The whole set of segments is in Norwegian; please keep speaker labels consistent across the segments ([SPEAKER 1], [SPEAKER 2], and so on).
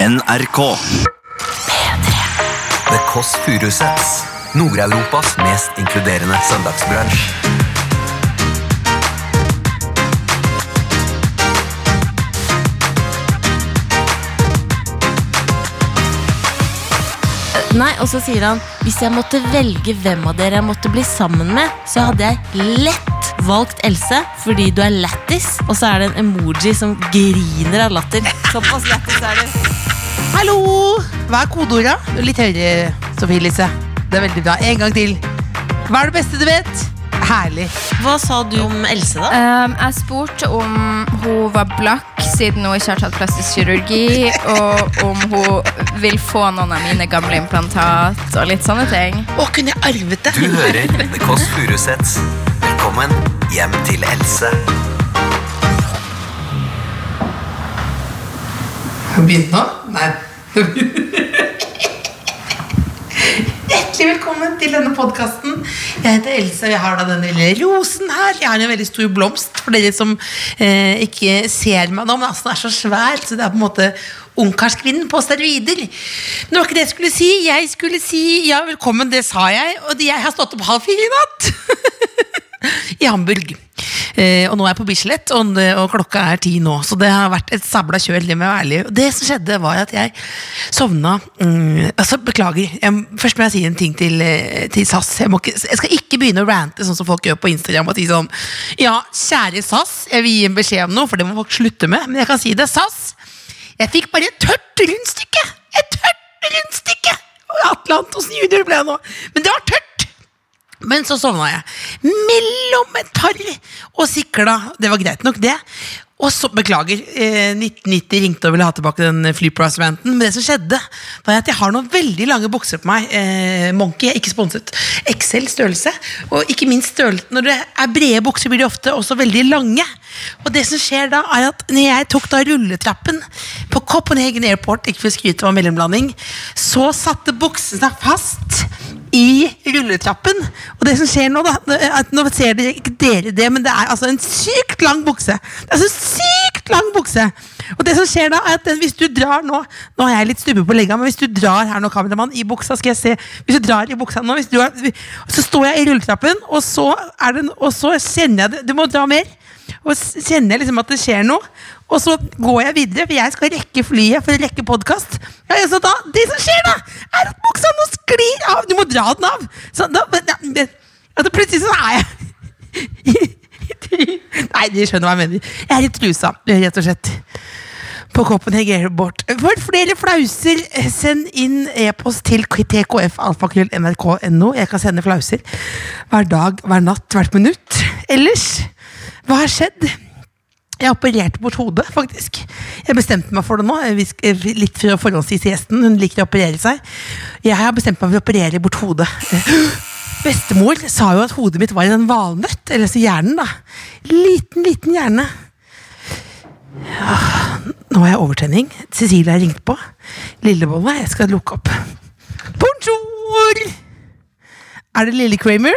[SPEAKER 1] NRK.
[SPEAKER 2] The Kåss Furuseths. Nord-Europas mest inkluderende søndagsbransj.
[SPEAKER 3] Nei, og så sier han Hvis jeg måtte velge hvem av dere jeg måtte bli sammen med Så hadde jeg lett valgt Else Fordi du er lættis Og så er det en emoji som griner av latter Såpass lættis er det
[SPEAKER 4] Hallo! Hva er kodeorda? Litt høyere, Sofie Elise. Det er veldig bra. En gang til. Hva er det beste du vet? Herlig.
[SPEAKER 3] Hva sa du om Else da?
[SPEAKER 5] Um, jeg spurte om hun var blakk siden hun ikke har tatt plastisk kirurgi, og om hun vil få noen av mine gamle implantat og litt sånne ting.
[SPEAKER 4] Å, kunne jeg arvet det?
[SPEAKER 2] Du hører The Kåss Furuseths. Velkommen hjem til Else.
[SPEAKER 4] Har vi begynt nå? Nei. Hjertelig velkommen til denne podkasten. Jeg heter Else, og jeg har da den lille rosen her. Jeg har en veldig stor blomst for dere som eh, ikke ser meg nå, men altså, den er så svær, så det er på en måte Ungkarskvinnen på steroider. Men det var ikke det jeg skulle si. Jeg skulle si ja, velkommen, det sa jeg. Og jeg har stått opp halv fire i natt. i Hamburg. Eh, og nå er jeg på Bislett, og, og klokka er ti nå. Så det har vært et sabla kjør. Det må jeg være ærlig. Og det som skjedde, var at jeg sovna mm, Altså, beklager. Jeg, først må jeg si en ting til, eh, til SAS. Jeg, må ikke, jeg skal ikke begynne å rante sånn som folk gjør på Instagram. Og si sånn Ja, kjære SAS, jeg vil gi en beskjed om noe, for det må folk slutte med. Men jeg kan si det. SAS, jeg fikk bare et tørt rundstykke! Et tørt rundstykke! Atle Antonsen junior ble jeg nå. Men det var tørt! Men så sovna jeg mellom et par og sikla. Det var greit nok, det. Og så, Beklager, eh, 1990 ringte og ville ha tilbake den flyplass-ranten. Men det som skjedde, var at jeg har noen veldig lange bukser på meg. Eh, Monkey er ikke sponset. XL størrelse. Og ikke minst størrelse Når det er brede bukser, blir de ofte også veldig lange. Og det som skjer da, er at når jeg tok da rulletrappen på Copenhagen Airport, ikke for å skryte av mellomlanding, så satte buksen seg fast i rulletrappen. Og det som skjer nå, da at Nå ser dere ikke dere det, men det er altså en sykt lang bukse. Det er så sykt lang bukse! Og det som skjer da, er at den- hvis du drar nå Nå er jeg litt stubbe på legga, men hvis du drar her nå, kameramann, i buksa, skal jeg se Hvis du drar i buksa nå, hvis du er, så står jeg i rulletrappen, og så er den Og så kjenner jeg det Du må dra mer. Og s- kjenner jeg liksom at det skjer noe. Og så går jeg videre, for jeg skal rekke flyet for å rekke podkast. Ja, ja, så da, det som skjer, da, er at buksa nå sklir av. Du må dra den av. Så da, men- ja, det- altså plutselig så er jeg Nei, de skjønner hva jeg mener. Jeg er i trusa, rett og slett. På Copenhagen Airport. For flere flauser, eh, send inn e-post til tkfalfakrøll.nrk.no. Jeg kan sende flauser hver dag, hver natt, hvert minutt. Ellers, hva har skjedd? Jeg opererte bort hodet, faktisk. Jeg bestemte meg for det nå. Vi sk- eh, Litt for å forhåndsvise gjesten. Hun liker å operere seg. Jeg har bestemt meg for å operere bort hodet. Bestemor sa jo at hodet mitt var i en valnøtt. Eller så hjernen, da. Liten, liten hjerne. Ja, nå har jeg overtenning. Cecilie har ringt på. Lillebolle, jeg skal lukke opp. Bonjour! Er det Lille Kramer?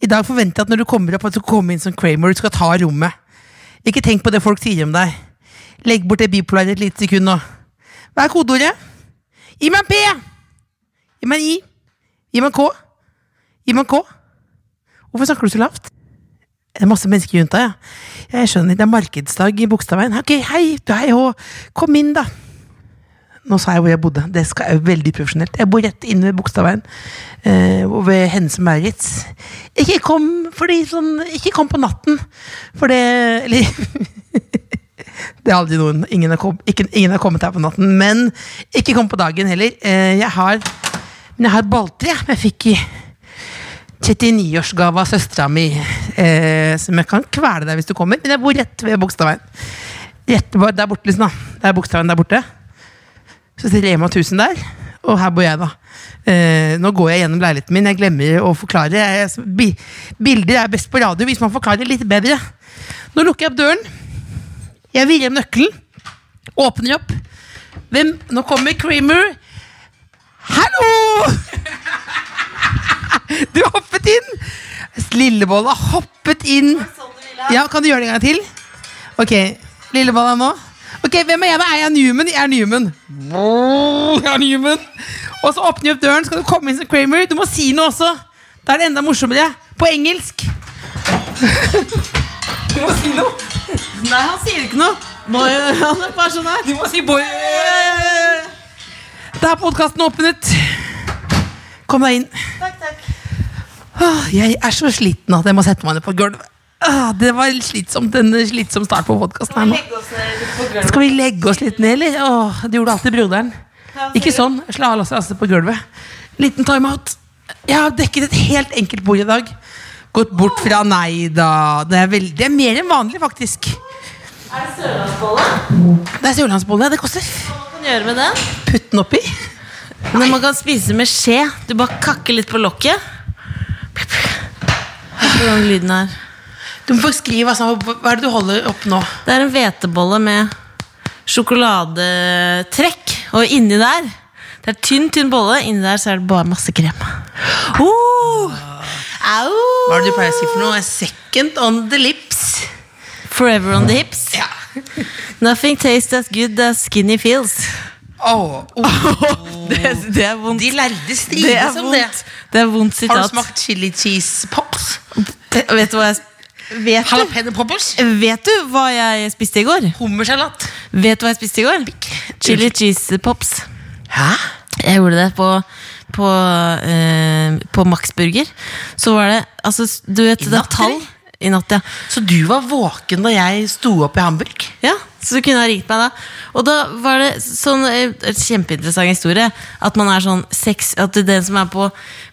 [SPEAKER 4] I dag forventer jeg at når du kommer opp, at du kommer inn som Kramer. Du skal ta rommet. Ikke tenk på det folk sier om deg. Legg bort det bipolare et lite sekund nå. Hva er kodeordet? Gi meg en P! Gi meg en I. Gi meg en K. Gi meg en K. Hvorfor snakker du så lavt? Det er masse mennesker rundt deg, ja. Jeg skjønner, det er markedsdag i Bogstadveien. Ok, hei, hei, hå. Kom inn, da. Nå sa jeg hvor jeg bodde. Det skal jeg veldig profesjonelt. Jeg bor rett inne ved Bogstadveien. Eh, og ved Hennes og Maurits. Ikke kom, fordi, sånn, ikke kom på natten, for det Eller det er aldri noen. Ingen har, kom, ikke, ingen har kommet her på natten. Men ikke kom på dagen heller. Eh, jeg har Men jeg har et balltre jeg fikk i 39-årsgave av søstera mi. Eh, som jeg kan kvele deg hvis du kommer. Men jeg bor rett ved Bogstadveien. Rett bor- Der borte, liksom. da Det er Bogstadveien der borte. Så sitter Rema 1000 der, og her bor jeg, da. Eh, nå går jeg gjennom leiligheten min. Jeg glemmer å forklare. Jeg, jeg, bi- bilder er best på radio hvis man forklarer litt bedre. Nå lukker jeg opp døren. Jeg virrer om nøkkelen. Åpner opp. Hvem? Nå kommer Kramer. Hallo! Du hoppet inn. Lillebolla hoppet inn. Ja, Kan du gjøre det en gang til? Ok. Lillebolla nå. Ok,
[SPEAKER 1] Ok, hvem er jeg? da? Er jeg Newman? Jeg er Newman. Brrr, Jeg er Newman. Og så åpner jeg opp døren, så kan du komme inn som Kramer. Du må si noe også. Da er det enda morsommere. På engelsk. Du må si noe.
[SPEAKER 3] Nei, han sier ikke noe. Boy, han er bare sånn her.
[SPEAKER 1] Du må si boy. Da er podkasten åpnet. Kom deg inn. Åh, jeg er så sliten at jeg må sette meg ned på gulvet. Åh, det var slitsomt, en slitsom start på podkasten her nå. Skal vi legge oss litt ned, eller? Åh, det gjorde alltid broderen. Ikke sånn. Sla Lasse Lasse på gulvet. Liten timeout. Jeg har dekket et helt enkelt bord i dag. Gått bort fra nei da. Det er, veldig, det er mer enn vanlig, faktisk. Det er sørlandsbolle. Det koster f-
[SPEAKER 3] Hva kan du gjøre med den?
[SPEAKER 1] putten oppi.
[SPEAKER 3] Men man kan spise med skje. Du bare kakker litt på lokket. Hør på den lyden her.
[SPEAKER 4] Du må forskrive altså, hva hva er det du holder opp nå.
[SPEAKER 3] Det er en hvetebolle med sjokoladetrekk, og inni der Det er tynn, tynn bolle, inni der så er det bare masse krem. Oh! Au!
[SPEAKER 4] Hva er det du pleier å si for noe? Second on the lips.
[SPEAKER 3] Forever on the hips.
[SPEAKER 4] Ja.
[SPEAKER 3] Nothing tastes as good as skinny feels.
[SPEAKER 4] Åh,
[SPEAKER 1] oh,
[SPEAKER 3] Det, det er vondt.
[SPEAKER 4] De lærde
[SPEAKER 3] Det er
[SPEAKER 4] strides om det.
[SPEAKER 3] vondt. Det er vondt
[SPEAKER 4] Har du
[SPEAKER 3] sitat.
[SPEAKER 4] smakt chili cheese pops?
[SPEAKER 3] Eh, Vet du hva jeg vet du,
[SPEAKER 4] Jalapeño poppers?
[SPEAKER 3] vet du hva jeg spiste i går?
[SPEAKER 4] Hummersalat?
[SPEAKER 3] Vet du hva jeg spiste i går? Chili cheese pops.
[SPEAKER 4] Hæ?
[SPEAKER 3] Jeg gjorde det på på, eh, på Max Burger. Så var det altså, Du vet, det er
[SPEAKER 4] natt,
[SPEAKER 3] tall.
[SPEAKER 4] eller?
[SPEAKER 3] I natt, ja.
[SPEAKER 4] Så du var våken da jeg sto opp i Hamburg?
[SPEAKER 3] Ja, så du kunne ha ringt meg da. Og da var det sånn eh, et kjempeinteressant historie. At man er sånn seks, At den som er på,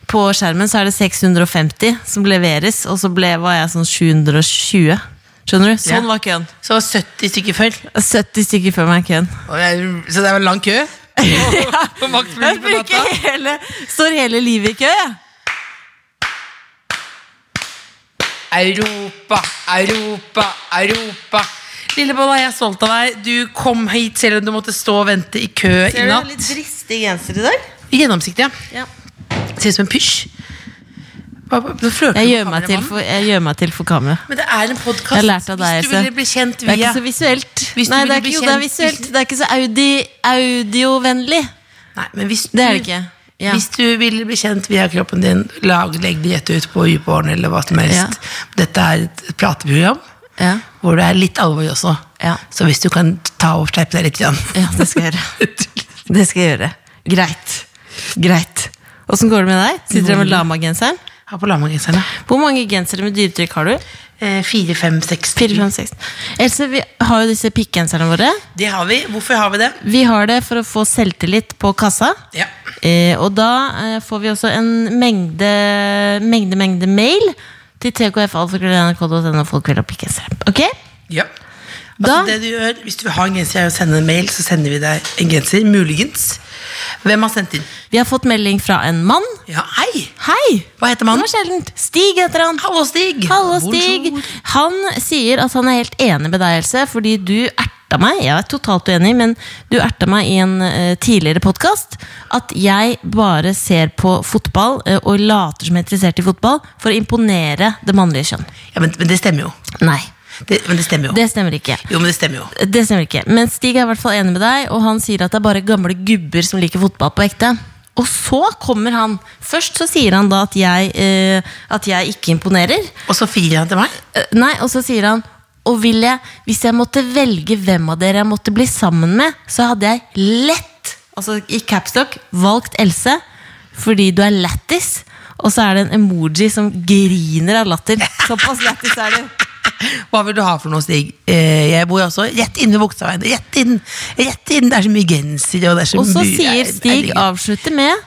[SPEAKER 3] på skjermen, så er det 650 som leveres, og så ble, var jeg sånn 720. Skjønner du? Sånn
[SPEAKER 4] Ja.
[SPEAKER 3] var køen.
[SPEAKER 4] Så det var 70 stykker før.
[SPEAKER 3] 70 stykker før meg i køen.
[SPEAKER 4] Og jeg, så det var lang kø? På Max
[SPEAKER 3] Jeg
[SPEAKER 4] Burger på natta?
[SPEAKER 3] bruker hele, står hele livet i kø, jeg.
[SPEAKER 4] Europa, Europa, Europa. Lillebolla, jeg er stolt av deg. Du kom hit selv om du måtte stå og vente i kø i natt.
[SPEAKER 3] litt dristig genser i dag?
[SPEAKER 4] Gjennomsiktig, ja.
[SPEAKER 3] Ja.
[SPEAKER 4] Ser ut som en pysj. Hva- hva- Du flørter
[SPEAKER 3] Jeg
[SPEAKER 4] med
[SPEAKER 3] gjør meg til
[SPEAKER 4] kameramannen.
[SPEAKER 3] for, jeg gjør meg til for kamera.
[SPEAKER 4] Men det er en
[SPEAKER 3] Jeg
[SPEAKER 4] podkast.
[SPEAKER 3] har lært av deg,
[SPEAKER 4] Hvis du
[SPEAKER 3] Else.
[SPEAKER 4] ville bli kjent
[SPEAKER 3] Det er
[SPEAKER 4] via
[SPEAKER 3] ikke så visuelt.
[SPEAKER 4] Hvis du
[SPEAKER 3] Nei,
[SPEAKER 4] ville
[SPEAKER 3] det er
[SPEAKER 4] bli
[SPEAKER 3] ikke, jo, det er
[SPEAKER 4] kjent-
[SPEAKER 3] visuelt. Det er ikke så audi, audiovennlig.
[SPEAKER 4] Nei, men hvis
[SPEAKER 3] Det er det
[SPEAKER 4] du-
[SPEAKER 3] ikke. Ja.
[SPEAKER 4] Hvis du vil bli kjent via kroppen din, lag, legg det gjett ut på uporn eller hva som helst.
[SPEAKER 3] Ja.
[SPEAKER 4] Dette er et prateprogram
[SPEAKER 3] Ja.
[SPEAKER 4] hvor det er litt alvor også.
[SPEAKER 3] Ja.
[SPEAKER 4] Så hvis du kan ta og skjerpe deg litt. Grann.
[SPEAKER 3] ja, det skal jeg gjøre. Det skal jeg gjøre. Greit. Greit. Åssen går det med deg? Sitter du med lamagenseren?
[SPEAKER 4] Her på Lamagenserne.
[SPEAKER 3] Hvor mange gensere med dyretrykk har du?
[SPEAKER 4] Eh, Fire, fem, seks.
[SPEAKER 3] Fire, fem, seks. Else, vi har jo disse pikkgenserne våre.
[SPEAKER 4] Det har vi. Hvorfor har vi det?
[SPEAKER 3] Vi har det for å få selvtillit på kassa.
[SPEAKER 4] Ja.
[SPEAKER 3] Eh, og da eh, får vi også en mengde, mengde, mengde mail til tkfalfakrøll.nrk.no. Folk vil ha pikkgensere. Ok?
[SPEAKER 4] ja.
[SPEAKER 3] Da-
[SPEAKER 4] Altså, det du gjør, hvis du vil ha en genser og sende en mail, så sender vi deg en genser. Muligens. Hvem har sendt inn?
[SPEAKER 3] Vi har fått melding fra en mann.
[SPEAKER 4] Ja, hei!
[SPEAKER 3] Hei!
[SPEAKER 4] Hva heter
[SPEAKER 3] Det
[SPEAKER 4] mannen?
[SPEAKER 3] var sjeldent. Stig heter han.
[SPEAKER 4] Hallo, Stig.
[SPEAKER 3] Hallo, Stig.
[SPEAKER 4] Bonjour.
[SPEAKER 3] Han sier at han er helt enig med deg, Else, fordi du erta meg. Jeg er totalt uenig, men du erta meg i en eh, tidligere podkast at jeg bare ser på fotball eh, og later som jeg er interessert i fotball for å imponere det mannlige kjønn.
[SPEAKER 4] Ja, men, men det stemmer jo.
[SPEAKER 3] Nei,
[SPEAKER 4] Det, men det stemmer jo.
[SPEAKER 3] det stemmer ikke.
[SPEAKER 4] Jo, men det stemmer jo.
[SPEAKER 3] Det stemmer ikke. Men Stig er i hvert fall enig med deg, og han sier at det er bare gamle gubber som liker fotball på ekte. Og så kommer han. Først så sier han da at jeg, eh, at jeg ikke imponerer.
[SPEAKER 4] Og så firer han til meg.
[SPEAKER 3] Eh, Nei, og så sier han Og vil jeg, hvis jeg måtte velge hvem av dere jeg måtte bli sammen med, så hadde jeg lett, altså i capstock, valgt Else. Fordi du er lættis. Og så er det en emoji som griner av latter. Såpass lættis er du.
[SPEAKER 4] Hva vil du ha for noe, Stig? Eh, jeg bor også rett inne ved Bogstadveien. Rett inn! Rett inn! Det er så mye gensere, og det er så
[SPEAKER 3] Og så
[SPEAKER 4] mye
[SPEAKER 3] sier Stig avslutter med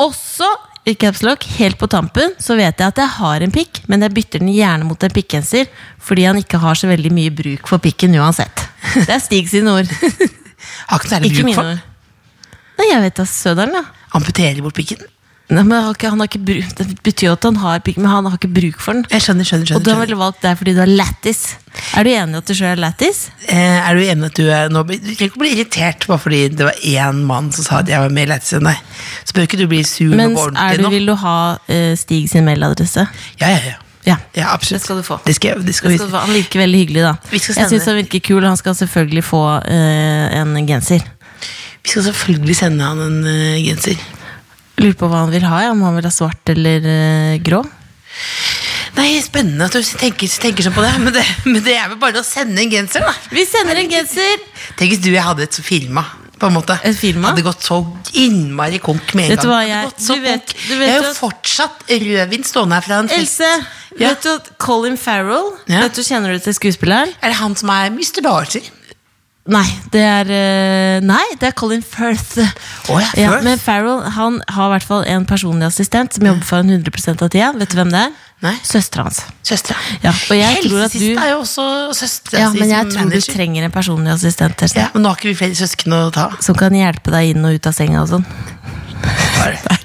[SPEAKER 3] Også i caps lock, helt på tampen, så vet jeg at jeg har en pikk, men jeg bytter den gjerne mot en pikkgenser, fordi han ikke har så veldig mye bruk for pikken uansett. Det er Stig sine ord,
[SPEAKER 4] Har ikke noe særlig
[SPEAKER 3] ikke
[SPEAKER 4] bruk
[SPEAKER 3] mine
[SPEAKER 4] for den.
[SPEAKER 3] ord. Nei, jeg vet da, søderen, da.
[SPEAKER 4] Amputerer bort pikken.
[SPEAKER 3] Nei, men han har ikke, han har ikke bruk, det betyr jo at han har pikk, men han har ikke bruk for den.
[SPEAKER 4] Jeg skjønner, skjønner,
[SPEAKER 3] Og
[SPEAKER 4] skjønner.
[SPEAKER 3] du har
[SPEAKER 4] skjønner.
[SPEAKER 3] vel valgt deg fordi du er lættis. Er du enig i at du sjøl er lættis?
[SPEAKER 4] Eh, er du enig at du er nå Du trenger ikke å bli irritert bare fordi det var én mann som sa at jeg var mer lættis enn deg. Så bør ikke du bli sur og
[SPEAKER 3] Mens
[SPEAKER 4] ordentlig
[SPEAKER 3] er du,
[SPEAKER 4] nå.
[SPEAKER 3] vil du ha eh, Stig sin mailadresse?
[SPEAKER 4] Ja, ja, ja.
[SPEAKER 3] Ja,
[SPEAKER 4] Ja,
[SPEAKER 3] det
[SPEAKER 4] absolutt.
[SPEAKER 3] skal du få.
[SPEAKER 4] Det skal, jeg- det skal
[SPEAKER 3] Det
[SPEAKER 4] vi
[SPEAKER 3] skal du få. Han virker veldig hyggelig, da.
[SPEAKER 4] Vi skal
[SPEAKER 3] Jeg
[SPEAKER 4] sende-
[SPEAKER 3] syns han virker kul, og han skal selvfølgelig få eh, en genser.
[SPEAKER 4] Vi skal selvfølgelig sende han en eh, genser.
[SPEAKER 3] Lurer på hva han vil ha, ja. om han vil ha svart eller eh, grå.
[SPEAKER 4] Nei, spennende at du tenker, tenker sånn på det, men det, men det er vel bare å sende en genser, da.
[SPEAKER 3] Vi sender en genser!
[SPEAKER 4] Tenk hvis du og jeg hadde et firma. På en måte.
[SPEAKER 3] Et firma?
[SPEAKER 4] Hadde gått så innmari konk med en
[SPEAKER 3] Vet du
[SPEAKER 4] gang.
[SPEAKER 3] hva,
[SPEAKER 4] Hadde
[SPEAKER 3] jeg-
[SPEAKER 4] gått så
[SPEAKER 3] du vet-
[SPEAKER 4] konk.
[SPEAKER 3] du vet
[SPEAKER 4] jeg
[SPEAKER 3] jo
[SPEAKER 4] har jo
[SPEAKER 3] at-
[SPEAKER 4] fortsatt rødvin stående her fra en fest.
[SPEAKER 3] Else,
[SPEAKER 4] Ja.
[SPEAKER 3] vet du at Colin Farrell
[SPEAKER 4] Ja.
[SPEAKER 3] Vet du, Kjenner du til skuespilleren?
[SPEAKER 4] Er det han som er Mr. Darcy?
[SPEAKER 3] Nei, det er eh, Nei, det er Colin Firth.
[SPEAKER 4] Å ja, Firth.
[SPEAKER 3] men Farrell han har i hvert fall en personlig assistent som jobber for han 100 av tida. Vet du hvem det er?
[SPEAKER 4] Nei.
[SPEAKER 3] Søstera hans.
[SPEAKER 4] Søstera.
[SPEAKER 3] Ja, og jeg tror at du-
[SPEAKER 4] Helsesista er jo også søstera
[SPEAKER 3] Ja,
[SPEAKER 4] si
[SPEAKER 3] men
[SPEAKER 4] som
[SPEAKER 3] jeg tror du
[SPEAKER 4] manager.
[SPEAKER 3] trenger en personlig assistent Therese,
[SPEAKER 4] ja, Men nå har ikke vi flere søsken å ta.
[SPEAKER 3] som kan hjelpe deg inn og ut av senga og sånn.
[SPEAKER 4] Hva er det?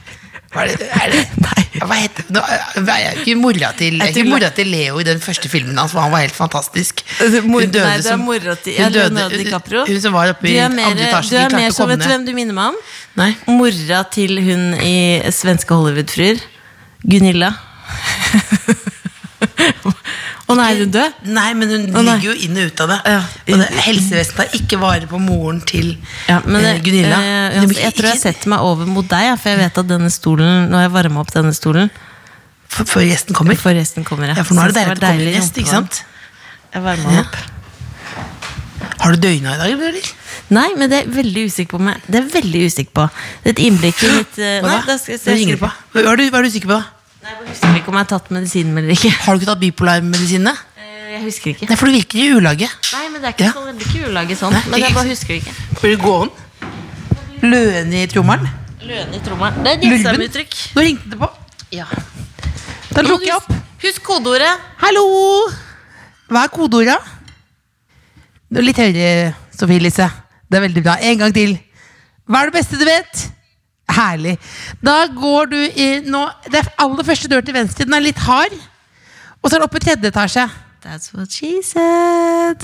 [SPEAKER 4] Hva er det? Er det? Ja, Hva heter nå er jeg ikke mora til, jeg er ikke mora til Leo i den første filmen hans, for han var helt fantastisk.
[SPEAKER 3] Altså, Mor- nei, det er mora til ja,
[SPEAKER 4] hun døde-
[SPEAKER 3] Leonardo DiCaprio.
[SPEAKER 4] Hun som var oppe
[SPEAKER 3] Du
[SPEAKER 4] i
[SPEAKER 3] er mer,
[SPEAKER 4] andre
[SPEAKER 3] du
[SPEAKER 4] etasje. de
[SPEAKER 3] er
[SPEAKER 4] klarte
[SPEAKER 3] mer
[SPEAKER 4] å
[SPEAKER 3] som,
[SPEAKER 4] komme
[SPEAKER 3] Vet du
[SPEAKER 4] ned.
[SPEAKER 3] hvem du minner meg om?
[SPEAKER 4] Nei.
[SPEAKER 3] Mora til hun i svenske Hollywood-fruer. Gunilla. Å nei, er hun død?
[SPEAKER 4] Nei, men hun
[SPEAKER 3] Å, nei.
[SPEAKER 4] ligger jo inn og ut av det.
[SPEAKER 3] Ja.
[SPEAKER 4] Og det helsevesenet tar ikke vare på moren til
[SPEAKER 3] Ja, men
[SPEAKER 4] eh,
[SPEAKER 3] det-
[SPEAKER 4] Gunilla.
[SPEAKER 3] eh,
[SPEAKER 4] Det
[SPEAKER 3] Johansen,
[SPEAKER 4] blir
[SPEAKER 3] jeg tror jeg
[SPEAKER 4] ikke-
[SPEAKER 3] setter meg over mot deg, ja, for jeg vet at denne stolen Når jeg varmer opp denne stolen
[SPEAKER 4] f- Før gjesten kommer.
[SPEAKER 3] For resten kommer jeg.
[SPEAKER 4] Ja, for nå er det
[SPEAKER 3] Så
[SPEAKER 4] deilig
[SPEAKER 3] var
[SPEAKER 4] at det kommer en gjest,
[SPEAKER 3] rumpevarmt.
[SPEAKER 4] ikke sant?
[SPEAKER 3] Jeg varmer
[SPEAKER 4] Ja.
[SPEAKER 3] opp.
[SPEAKER 4] Har du døgna i dag, eller?
[SPEAKER 3] Nei, men det er jeg veldig usikker på. Meg. Det er jeg veldig usikker på. Det er et innblikk i mitt eh, Nei,
[SPEAKER 4] da?
[SPEAKER 3] da skal jeg
[SPEAKER 4] Nå ringer det på. Hva hva er du, hva er du sikker på, da?
[SPEAKER 3] Nei, jeg husker ikke om jeg har tatt medisinen eller ikke.
[SPEAKER 4] Har du ikke tatt bipolarmedisinene?
[SPEAKER 3] Eh, Jeg husker ikke.
[SPEAKER 4] Nei, for du virker i ulage.
[SPEAKER 3] Nei, men det er ikke
[SPEAKER 4] Ja.
[SPEAKER 3] så veldig kulelaget sånn.
[SPEAKER 4] Nei,
[SPEAKER 3] Men jeg
[SPEAKER 4] ikke-
[SPEAKER 3] bare husker ikke.
[SPEAKER 4] Blir du gåen? Løne i trommelen?
[SPEAKER 3] Løne i tromma. Det er et
[SPEAKER 4] Lurven?
[SPEAKER 3] gjeldsamuttrykk.
[SPEAKER 4] Nå ringte det på.
[SPEAKER 3] Ja.
[SPEAKER 4] Da
[SPEAKER 3] Nå må du
[SPEAKER 4] lukker jeg opp.
[SPEAKER 3] hus- Husk kodeordet.
[SPEAKER 4] Hallo! Hva er kodeordet? Nå Litt høyere, Sofie Elise. Det er veldig bra. En gang til. Hva er det beste du vet? Herlig. Da går du i nå Det er aller første dør til venstre. Den er litt hard. Og så er det oppe i tredje etasje.
[SPEAKER 3] That's what she said.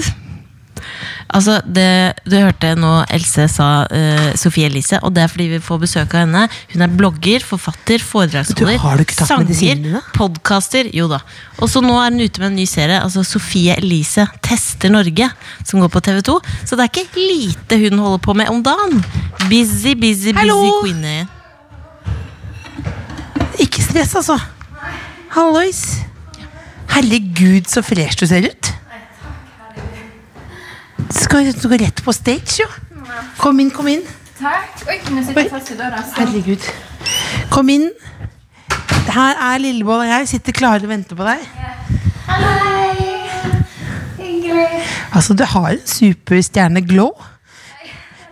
[SPEAKER 3] Altså, det du hørte nå Else sa eh, Sofie Elise, og det er fordi vi får besøk av henne. Hun er blogger, forfatter, foredragsholder,
[SPEAKER 4] Du, har du ikke tatt medisinen din, da?
[SPEAKER 3] podkaster. Jo da. Og så nå er hun ute med en ny serie, altså Sofie Elise tester Norge, som går på TV2. Så det er ikke lite hun holder på med om dagen. Busy, busy, busy
[SPEAKER 4] Hallo!
[SPEAKER 3] queenie.
[SPEAKER 4] Ikke stress, altså. Hallois. Herregud, så fresh du ser ut. Du skal, du går rett på stage, jo. Kom inn, kom inn.
[SPEAKER 5] Takk. Oi, nå sitter jeg fast i døra.
[SPEAKER 4] Herregud. Kom inn. Her er Lilleboll og jeg. Sitter klare og venter på deg.
[SPEAKER 6] Hyggelig.
[SPEAKER 4] Altså, du har en superstjerne-glow.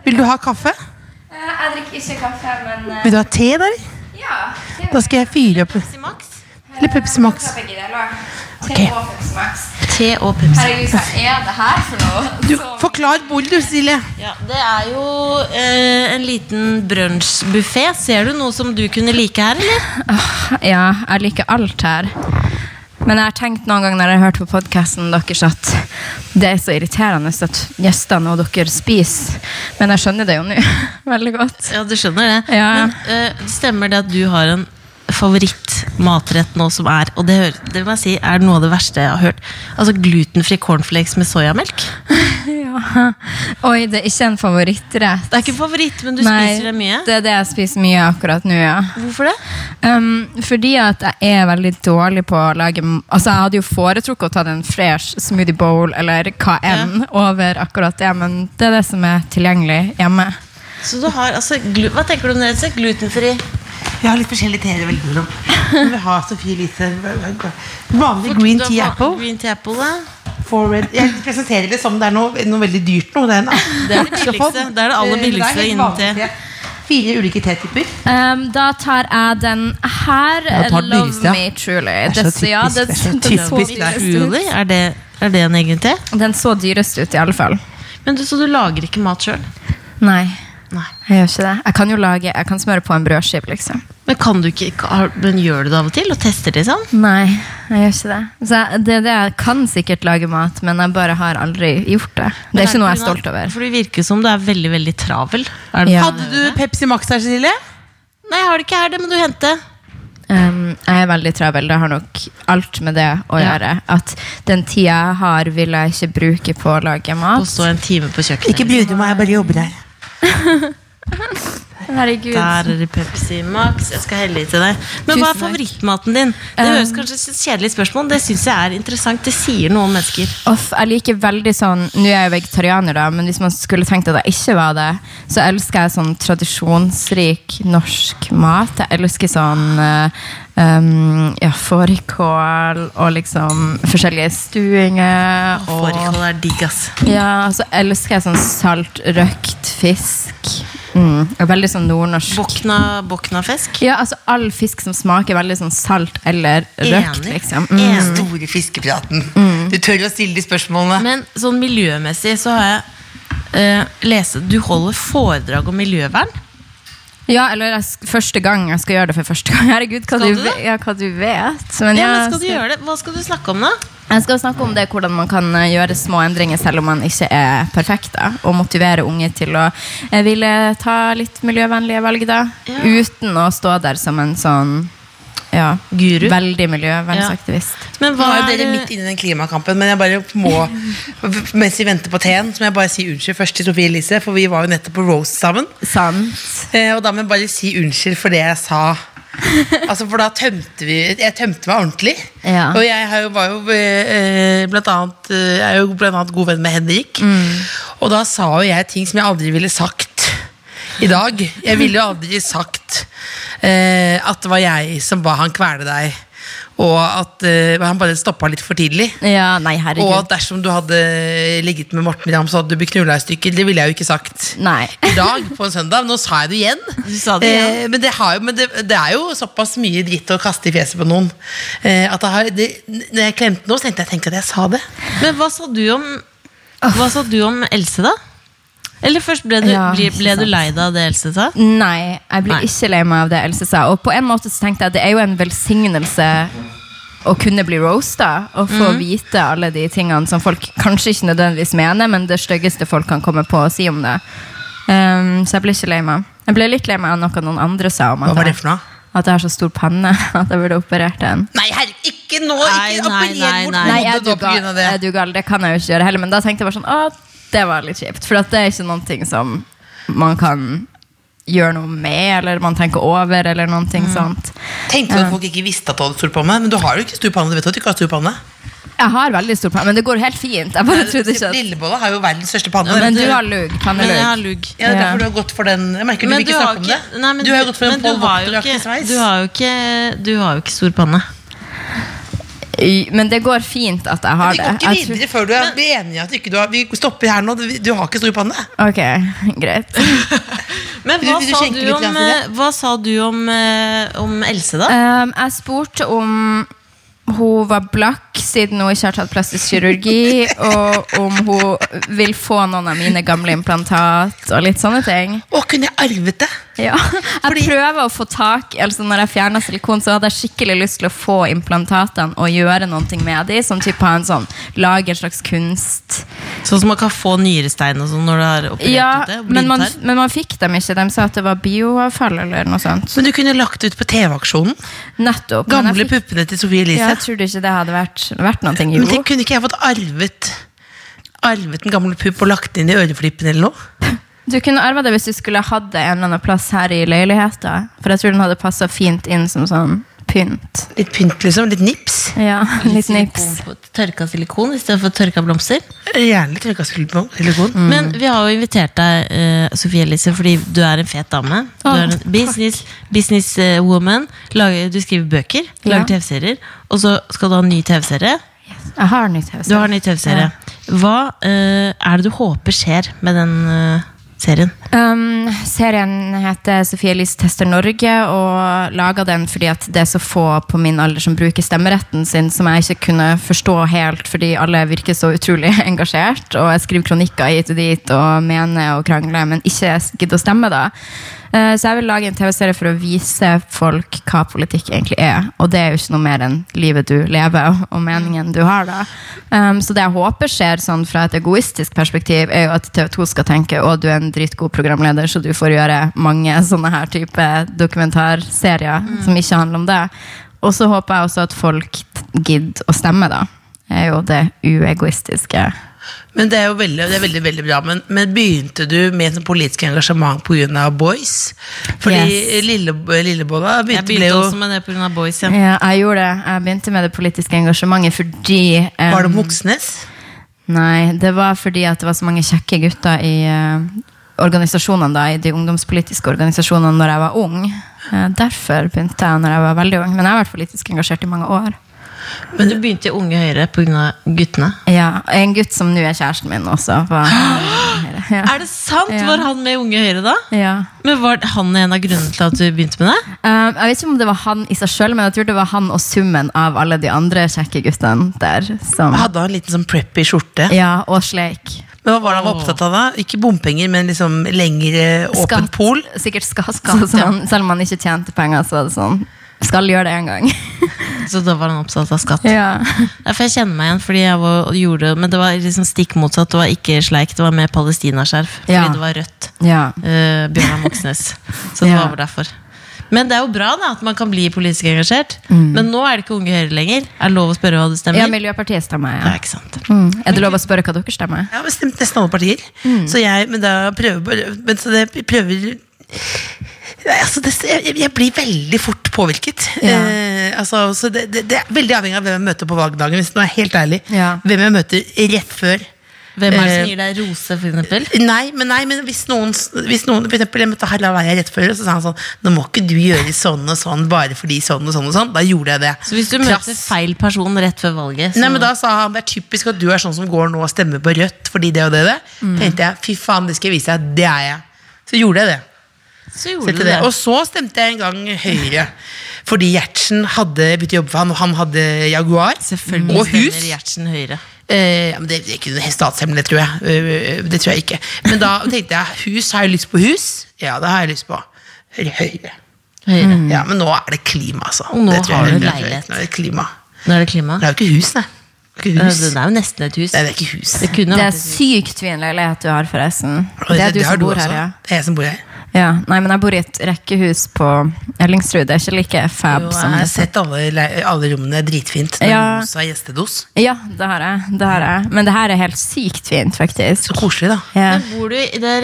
[SPEAKER 4] Vil du ha kaffe?
[SPEAKER 6] Eh, Jeg drikker ikke kaffe, men eh,
[SPEAKER 4] Vil du ha te, der?
[SPEAKER 6] ja. det
[SPEAKER 4] Da skal jeg fyre opp
[SPEAKER 3] Pepsi Max,
[SPEAKER 4] Eller Pepsi Max.
[SPEAKER 6] er begge deler. Te
[SPEAKER 4] Ok.
[SPEAKER 6] og Pepsi Max.
[SPEAKER 3] Te og Pepsi.
[SPEAKER 6] Herregud, hva er det her for noe?
[SPEAKER 4] Du,
[SPEAKER 6] Som-
[SPEAKER 4] forklar bordet, du, Silje.
[SPEAKER 3] Ja, Det er jo eh, en liten brunsjbuffé. Ser du noe som du kunne like her, eller?
[SPEAKER 5] Ah, Ja, jeg liker alt her. Men jeg har tenkt noen ganger når jeg har hørt på podkasten deres, at det er så irriterende at gjestene og dere spiser. Men jeg skjønner det jo nå veldig godt.
[SPEAKER 3] Ja, du skjønner det.
[SPEAKER 5] Ja.
[SPEAKER 3] Men eh, stemmer det at du har en favorittmatrett nå som er Og det, hører, det må jeg si er noe av det verste jeg har hørt. Altså glutenfri cornflakes med soyamelk.
[SPEAKER 5] Ja. Oi, det er ikke en favorittrett.
[SPEAKER 3] Det er ikke en favoritt, men du spiser det mye.
[SPEAKER 5] det er det jeg spiser mye akkurat nå, ja.
[SPEAKER 3] Hvorfor det?
[SPEAKER 5] Um, fordi at jeg er veldig dårlig på å lage m- Altså Jeg hadde jo foretrukket å ta en fresh smoothie bowl eller hva enn over akkurat det, men det er det som er tilgjengelig hjemme.
[SPEAKER 3] Så du har, altså, glu Hva tenker du om det? Else? Glutenfri?
[SPEAKER 4] Vi har litt forskjellige teer å velge mellom. Vi vil ha Sofie Elise. Vanlig green
[SPEAKER 3] Du har
[SPEAKER 4] tea
[SPEAKER 3] valgt
[SPEAKER 4] apple.
[SPEAKER 3] Green tea apple, da.
[SPEAKER 4] Forward. Jeg presenterer det som det er noe, noe veldig dyrt noe. Det er, en-
[SPEAKER 3] Det er det billigste. Det er det aller
[SPEAKER 4] Eh,
[SPEAKER 3] billigste
[SPEAKER 4] helt
[SPEAKER 3] innen
[SPEAKER 4] vanlig
[SPEAKER 3] te.
[SPEAKER 4] Fire ulike tetyper.
[SPEAKER 5] Um, da tar jeg den her.
[SPEAKER 4] Ja, tar den
[SPEAKER 5] Love
[SPEAKER 4] dyreste, ja.
[SPEAKER 5] me truly.
[SPEAKER 4] Det er
[SPEAKER 5] Det-
[SPEAKER 4] så
[SPEAKER 5] ja,
[SPEAKER 4] typisk,
[SPEAKER 5] det-
[SPEAKER 4] det er så
[SPEAKER 5] den så
[SPEAKER 4] typisk det.
[SPEAKER 5] dyrest ut.
[SPEAKER 3] Truly? Er det, er det en egen te?
[SPEAKER 5] Den så dyrest ut, i alle fall.
[SPEAKER 3] Men du, Så du lager ikke mat sjøl?
[SPEAKER 5] Nei,
[SPEAKER 3] Nei.
[SPEAKER 5] jeg gjør ikke det. Jeg kan jo lage, jeg kan smøre på en brødskive, liksom.
[SPEAKER 3] Men, kan du ikke, har- men gjør du det av og til? Og tester det sånn?
[SPEAKER 5] Nei, jeg gjør ikke det. Så jeg, det, er det jeg kan sikkert lage mat, men jeg bare har aldri gjort det. Det er ikke noe jeg er stolt over.
[SPEAKER 3] For det virker som du er veldig veldig travel. Er det-
[SPEAKER 5] Ja.
[SPEAKER 4] Hadde du Pepsi Max her, Cecilie?
[SPEAKER 3] Nei, jeg har det ikke her, det må du hente.
[SPEAKER 5] Um, jeg er veldig travel. Det har nok alt med det å
[SPEAKER 3] Ja.
[SPEAKER 5] gjøre. At den tida jeg har, vil jeg ikke bruke på å lage
[SPEAKER 3] Og
[SPEAKER 5] mat.
[SPEAKER 3] så en time på kjøkkenet.
[SPEAKER 4] Ikke bry deg om meg, jeg bare jobber der.
[SPEAKER 5] Herregud.
[SPEAKER 3] Der er det Pepsi Max. Jeg skal helle i til deg. Men hva er
[SPEAKER 5] Tusen takk.
[SPEAKER 3] favorittmaten din? Det høres kanskje ut som et kjedelig spørsmål, det syns jeg er interessant. Det sier noe om mennesker.
[SPEAKER 5] Off, jeg liker veldig sånn Nå er jeg jo vegetarianer, da, men hvis man skulle tenkt at jeg ikke var det, så elsker jeg sånn tradisjonsrik norsk mat. Jeg elsker sånn eh, um, ja, fårikål og liksom forskjellige stuinger. Og
[SPEAKER 3] Fårikål er digg, ass.
[SPEAKER 5] ja, så elsker jeg sånn salt, røkt fisk. Mm, og veldig sånn nordnorsk.
[SPEAKER 3] Bokna, boknafisk.
[SPEAKER 5] Ja, altså All fisk som smaker veldig sånn salt eller røkt,
[SPEAKER 3] Enig.
[SPEAKER 5] liksom.
[SPEAKER 3] Enig.
[SPEAKER 5] Mm.
[SPEAKER 4] Den store fiskepraten. Du tør å stille de spørsmålene.
[SPEAKER 3] Men sånn miljømessig så har jeg eh, lest Du holder foredrag om miljøvern.
[SPEAKER 5] Ja, eller jeg, sk- første gang jeg skal gjøre det for første gang. Herregud, hva,
[SPEAKER 3] Skal
[SPEAKER 5] du,
[SPEAKER 3] du det?
[SPEAKER 5] ve- ja, hva du vet. Men
[SPEAKER 3] Ja,
[SPEAKER 5] jeg
[SPEAKER 3] men skal du gjøre det? Hva skal du snakke om, da?
[SPEAKER 5] Jeg skal snakke om det, hvordan man kan eh, gjøre små endringer selv om man ikke er perfekt. Da, og motivere unge til å eh, ville ta litt miljøvennlige valg, da.
[SPEAKER 3] Ja.
[SPEAKER 5] Uten å stå der som en sånn ja,
[SPEAKER 3] Guru.
[SPEAKER 5] Veldig miljøvernaktivist.
[SPEAKER 3] Men
[SPEAKER 4] Nå
[SPEAKER 3] hva
[SPEAKER 4] er
[SPEAKER 3] er
[SPEAKER 4] dere midt
[SPEAKER 3] det,
[SPEAKER 4] inne i den klimakampen, men jeg bare må Mens vi venter på teen, så må jeg bare si unnskyld først til Sofie Elise, for vi var jo nettopp på Roast sammen.
[SPEAKER 5] Sant.
[SPEAKER 4] Eh, Og da må jeg bare si unnskyld for det jeg sa. Altså, for da tømte vi Jeg tømte meg ordentlig.
[SPEAKER 5] Ja.
[SPEAKER 4] Og jeg har jo, var jo eh, eh, blant annet eh, Jeg er jo blant annet god venn med Henrik.
[SPEAKER 5] Mm.
[SPEAKER 4] Og da sa jo jeg ting som jeg aldri ville sagt i dag. Jeg ville jo aldri sagt eh, at det var jeg som ba han kvele deg, og at eh, han bare stoppa litt for tidlig.
[SPEAKER 5] Ja, nei,
[SPEAKER 4] Og at
[SPEAKER 5] herregud.
[SPEAKER 4] dersom du hadde ligget med Morten Ramm, så hadde du blitt knulla i stykker. Det ville jeg jo ikke sagt
[SPEAKER 5] Nei.
[SPEAKER 4] i dag på en søndag. Nå sa jeg det igjen.
[SPEAKER 3] Du sa det igjen.
[SPEAKER 4] Eh, men det, har, jo- men det, det er jo såpass mye dritt å kaste i fjeset på noen. Eh, at det har, det, når jeg klemte nå, så tenkte jeg tenk at jeg sa det.
[SPEAKER 3] men hva sa du om Hva sa du om Else, da? Eller først ble du,
[SPEAKER 5] Ja,
[SPEAKER 3] ble,
[SPEAKER 5] ikke
[SPEAKER 3] ble du
[SPEAKER 5] sant.
[SPEAKER 3] lei deg av det Else sa?
[SPEAKER 5] Nei, jeg blir
[SPEAKER 3] Nei.
[SPEAKER 5] ikke lei meg av det Else sa. Og på en måte så tenkte jeg at det er jo en velsignelse å kunne bli roasta og få
[SPEAKER 4] Mhm.
[SPEAKER 5] vite alle de tingene som folk kanskje ikke nødvendigvis mener, men det styggeste folk kan komme på å si om det. Ehm, så jeg ble ikke lei meg. Jeg ble litt lei meg av noe noen andre sa om
[SPEAKER 4] Hva
[SPEAKER 5] at,
[SPEAKER 4] var det
[SPEAKER 5] jeg-
[SPEAKER 4] for noe?
[SPEAKER 5] at jeg har så stor panne at jeg burde operert den.
[SPEAKER 4] Nei, herre, ikke nå!
[SPEAKER 3] Nei,
[SPEAKER 4] Ikke
[SPEAKER 3] nei,
[SPEAKER 4] appellere
[SPEAKER 3] nei,
[SPEAKER 4] bort
[SPEAKER 3] nei.
[SPEAKER 5] Nei,
[SPEAKER 4] hodet
[SPEAKER 5] jeg
[SPEAKER 4] nå på
[SPEAKER 5] er
[SPEAKER 4] grunn
[SPEAKER 5] dugal,
[SPEAKER 4] av
[SPEAKER 5] jeg er
[SPEAKER 4] det.
[SPEAKER 5] dugal, det kan jeg jo ikke gjøre heller, men da tenkte jeg bare sånn Å, det var litt kjipt. For at det er ikke noen ting som man kan gjøre noe med, eller man tenker over, eller noen ting sånt.
[SPEAKER 4] Tenkte du at folk ikke visste at du hadde stor panne? Men du har jo ikke stor panne. Du vet jo at du ikke har stor panne.
[SPEAKER 5] Jeg har veldig stor panne, men det går helt fint. Jeg bare trodde ikke at
[SPEAKER 4] Lillebolla har jo verdens største panne.
[SPEAKER 5] Men du har lugg.
[SPEAKER 3] Men jeg har
[SPEAKER 5] Pannelugg.
[SPEAKER 3] lugg.
[SPEAKER 4] ja, det er
[SPEAKER 5] Ja.
[SPEAKER 4] derfor du har gått for den Jeg merker du vil ikke snakke om det.
[SPEAKER 3] nei, men
[SPEAKER 4] du har jo gått for
[SPEAKER 3] men
[SPEAKER 4] en
[SPEAKER 3] du
[SPEAKER 4] Paul
[SPEAKER 3] har jo
[SPEAKER 4] Walter-aktig
[SPEAKER 3] ikke-
[SPEAKER 4] sveis.
[SPEAKER 3] Du har jo ikke, du har jo ikke stor panne.
[SPEAKER 5] Men det går fint at jeg har
[SPEAKER 4] Vi
[SPEAKER 5] det.
[SPEAKER 4] går ikke
[SPEAKER 5] Jeg tror-
[SPEAKER 4] videre før du er vi er enige at du ikke, du har, vi stopper her nå. Du- Du har ikke stor panne.
[SPEAKER 5] Ok, greit.
[SPEAKER 3] Men
[SPEAKER 4] Vil du-
[SPEAKER 3] hva
[SPEAKER 4] vil du
[SPEAKER 3] sa
[SPEAKER 4] skjenke
[SPEAKER 3] du
[SPEAKER 4] litt
[SPEAKER 3] om,
[SPEAKER 4] grann til det?
[SPEAKER 3] eh, hva sa du om, eh, om Else, da?
[SPEAKER 5] Um, jeg spurte om hun var blakk siden hun ikke har tatt plastisk kirurgi, og om hun vil få noen av mine gamle implantat og litt sånne ting.
[SPEAKER 4] Å, kunne jeg arvet det?
[SPEAKER 5] Ja. Jeg prøver å få tak altså Når jeg fjerna silikon, så hadde jeg skikkelig lyst til å få implantatene og gjøre noe med dem. Som typ ha en sånn, lage en slags kunst.
[SPEAKER 3] Sånn som man kan få nyrestein og sånn når du har
[SPEAKER 4] Eh,
[SPEAKER 3] operert
[SPEAKER 5] Ja,
[SPEAKER 3] ut det? og
[SPEAKER 5] men man,
[SPEAKER 3] blindtarm.
[SPEAKER 5] men man fikk dem ikke. De sa at det var bioavfall eller noe sånt.
[SPEAKER 4] Men du kunne lagt ut på TV-aksjonen.
[SPEAKER 5] Nettopp. men
[SPEAKER 4] Gamle
[SPEAKER 5] jeg fikk-
[SPEAKER 4] puppene til Sofie
[SPEAKER 5] Ja,
[SPEAKER 4] Elise.
[SPEAKER 5] jeg trodde ikke det hadde vært, vært noe.
[SPEAKER 4] Men tenk,
[SPEAKER 5] Jo.
[SPEAKER 4] kunne ikke jeg fått arvet Arvet en gammel pupp og lagt den inn i øreflippen eller noe?
[SPEAKER 5] Du kunne arva det hvis du skulle hatt det en eller annen plass her i leiligheta. For jeg tror den hadde passa fint inn som sånn pynt.
[SPEAKER 4] Litt pynt, liksom. Litt nips.
[SPEAKER 5] Ja, litt nips.
[SPEAKER 3] Silikon på- Tørka silikon istedenfor tørka blomster.
[SPEAKER 4] Gjerne litt røyka silikon.
[SPEAKER 5] Mm.
[SPEAKER 3] Men vi har jo invitert deg, eh, Sofie Elise, fordi du er en fet dame. Du
[SPEAKER 5] Å,
[SPEAKER 3] er en business, businesswoman. Lager- Du skriver bøker, lager
[SPEAKER 5] Ja.
[SPEAKER 3] TV-serier. Og så skal du ha en ny TV-serie.
[SPEAKER 5] Jeg har nytt hus.
[SPEAKER 3] Du har en ny TV-serie. Hva eh, er det du håper skjer med den eh, serien?
[SPEAKER 5] Um, serien heter Sofie Elise tester Norge, og laga den fordi at det er så få på min alder som bruker stemmeretten sin, som jeg ikke kunne forstå helt, fordi alle virker så utrolig engasjert. Og jeg skriver kronikker hit og dit og mener og krangler, men ikke gidder å stemme, da. Eh, så jeg vil lage en TV-serie for å vise folk hva politikk egentlig er. Og det er jo ikke noe mer enn livet du lever, og meningen du har, da. Um, så det jeg håper skjer sånn fra et egoistisk perspektiv, er jo at TV 2 skal tenke å, du er en dritgod programleder, så du
[SPEAKER 4] Mm.
[SPEAKER 5] får gjøre mange sånne her type dokumentarserier som ikke handler om det. Og så håper jeg også at folk gidder å stemme, da. Det er jo det uegoistiske.
[SPEAKER 4] Men det er jo veldig, det er veldig, veldig bra. Men, men begynte du med sånn politisk engasjement pga. Boys? Fordi
[SPEAKER 5] Yes.
[SPEAKER 4] lille, Lillebolla
[SPEAKER 3] Jeg
[SPEAKER 4] begynte, ble
[SPEAKER 3] begynte
[SPEAKER 4] jo
[SPEAKER 3] også med det pga. Boys. Ja.
[SPEAKER 5] Ja, jeg gjorde det. Jeg begynte med det politiske engasjementet fordi eh,
[SPEAKER 4] Var det Moxnes?
[SPEAKER 5] Nei, det var fordi at det var så mange kjekke gutter i eh, organisasjonene da, i de ungdomspolitiske organisasjonene når jeg var ung. Eh, derfor begynte jeg når jeg var veldig ung. Men jeg har vært politisk engasjert i mange år.
[SPEAKER 3] Men du begynte i Unge Høyre pga. guttene.
[SPEAKER 5] Ja, En gutt som nå er kjæresten min også. Var, ja.
[SPEAKER 3] Er det sant?
[SPEAKER 5] Ja.
[SPEAKER 3] Var han med i Unge Høyre da?
[SPEAKER 5] Ja.
[SPEAKER 3] Men Var han en av grunnene til at du begynte med det?
[SPEAKER 5] Eh, jeg vet ikke om det var han i seg sjøl, men jeg tror det var han og summen av alle de andre kjekke guttene der. Som,
[SPEAKER 4] Hadde han en liten sånn preppy skjorte?
[SPEAKER 5] ja, og sleik.
[SPEAKER 4] Men Hva var det han var opptatt av da? Ikke bompenger, men liksom lengre åpent pol?
[SPEAKER 5] Sikkert skatt. sånn, selv om han ikke tjente penger, så var det sånn Skal gjøre det en gang.
[SPEAKER 3] Så da var han opptatt av skatt.
[SPEAKER 5] ja.
[SPEAKER 3] Ja, for jeg kjenner meg igjen, fordi jeg var, og gjorde, men det var liksom stikk motsatt. Det var ikke sleik, det var med palestinaskjerf. Fordi
[SPEAKER 5] Ja.
[SPEAKER 3] det var rødt.
[SPEAKER 5] ja.
[SPEAKER 3] Eh, Bjørnar Moxnes. Så det
[SPEAKER 5] Ja.
[SPEAKER 3] var vel derfor. Men det er jo bra da, at man kan bli politisk engasjert.
[SPEAKER 4] Mm.
[SPEAKER 3] Men nå er det ikke Unge Høyre lenger. Er det lov å spørre hva det stemmer?
[SPEAKER 5] Ja, Miljøpartiet stemmer,
[SPEAKER 3] ja,
[SPEAKER 5] ja.
[SPEAKER 3] ikke sant.
[SPEAKER 5] Mm. Er det lov å spørre hva dere stemmer?
[SPEAKER 4] Jeg har bestemt nesten alle partier.
[SPEAKER 3] Mm.
[SPEAKER 4] Så jeg, men da prøver bare men så det prøver Nei, altså det, jeg, jeg blir veldig fort påvirket.
[SPEAKER 5] Ja.
[SPEAKER 4] Eh, altså, så det, det, det er veldig avhengig av hvem jeg møter på valgdagen. Hvis nå er jeg helt ærlig
[SPEAKER 5] Ja.
[SPEAKER 4] Hvem jeg møter rett før.
[SPEAKER 3] Hvem er det
[SPEAKER 4] Eh,
[SPEAKER 3] som gir deg rose, for eksempel?
[SPEAKER 4] Nei, men, nei, men hvis noen, hvis noen For eksempel, jeg møtte Harald Eia rett før, og så sa han sånn Nå må ikke du gjøre sånn og sånn bare fordi sånn og sånn og sånn. Da gjorde jeg det.
[SPEAKER 3] Så hvis du
[SPEAKER 4] Trass.
[SPEAKER 3] møter feil person rett før valget, så
[SPEAKER 4] Nei, men Da sa han det er typisk at du er sånn som går nå og stemmer på Rødt fordi det og det. og det.
[SPEAKER 3] Mm.
[SPEAKER 4] Tenkte jeg, fy faen, det skal jeg vise deg. Det er jeg. Så gjorde jeg det.
[SPEAKER 3] så gjorde
[SPEAKER 4] Sette
[SPEAKER 3] du det.
[SPEAKER 4] det. Og så stemte jeg en gang Høyre. Fordi Gjertsen hadde begynt å jobbe for han, og han hadde Jaguar.
[SPEAKER 3] Selvfølgelig
[SPEAKER 4] Og hus.
[SPEAKER 3] stemmer Gjertsen Høyre.
[SPEAKER 4] Eh, ja, men det, det er ikke noe statshemmelig, tror jeg. Eh, det tror jeg ikke. Men da tenkte jeg hus, har jeg lyst på hus? Ja, det har jeg lyst på. Høyre.
[SPEAKER 3] Høyre.
[SPEAKER 4] Ja, Men nå er det klima, altså.
[SPEAKER 3] Mm. Og nå
[SPEAKER 4] Det tror jeg
[SPEAKER 3] har du
[SPEAKER 4] er helt
[SPEAKER 3] leilighet.
[SPEAKER 4] rett. Nå er det klima.
[SPEAKER 3] Nå er det klima.
[SPEAKER 4] Det er jo ikke hus, nei. Det er
[SPEAKER 3] Eh,
[SPEAKER 4] ikke hus.
[SPEAKER 3] Det er jo nesten et hus.
[SPEAKER 4] Nei, det er ikke hus.
[SPEAKER 3] Det kunne
[SPEAKER 5] Det
[SPEAKER 3] vært
[SPEAKER 5] er
[SPEAKER 3] et hus.
[SPEAKER 5] sykt fin leilighet du har, forresten.
[SPEAKER 4] Og
[SPEAKER 5] Det er du
[SPEAKER 4] har
[SPEAKER 5] som bor
[SPEAKER 4] også.
[SPEAKER 5] her, ja.
[SPEAKER 4] Det er jeg som bor her.
[SPEAKER 5] ja. Nei, men jeg bor i et rekkehus på Ellingsrud. Det er ikke like fab
[SPEAKER 4] Jo, jeg
[SPEAKER 5] som
[SPEAKER 4] har
[SPEAKER 5] det.
[SPEAKER 4] sett alle, le- alle rommene dritfint. Det er
[SPEAKER 5] Ja.
[SPEAKER 4] Rosa gjestedos.
[SPEAKER 5] Ja, det har jeg. Det har jeg. Men det her er helt sykt fint, faktisk.
[SPEAKER 4] Så koselig, da.
[SPEAKER 5] Ja.
[SPEAKER 3] Men bor du i det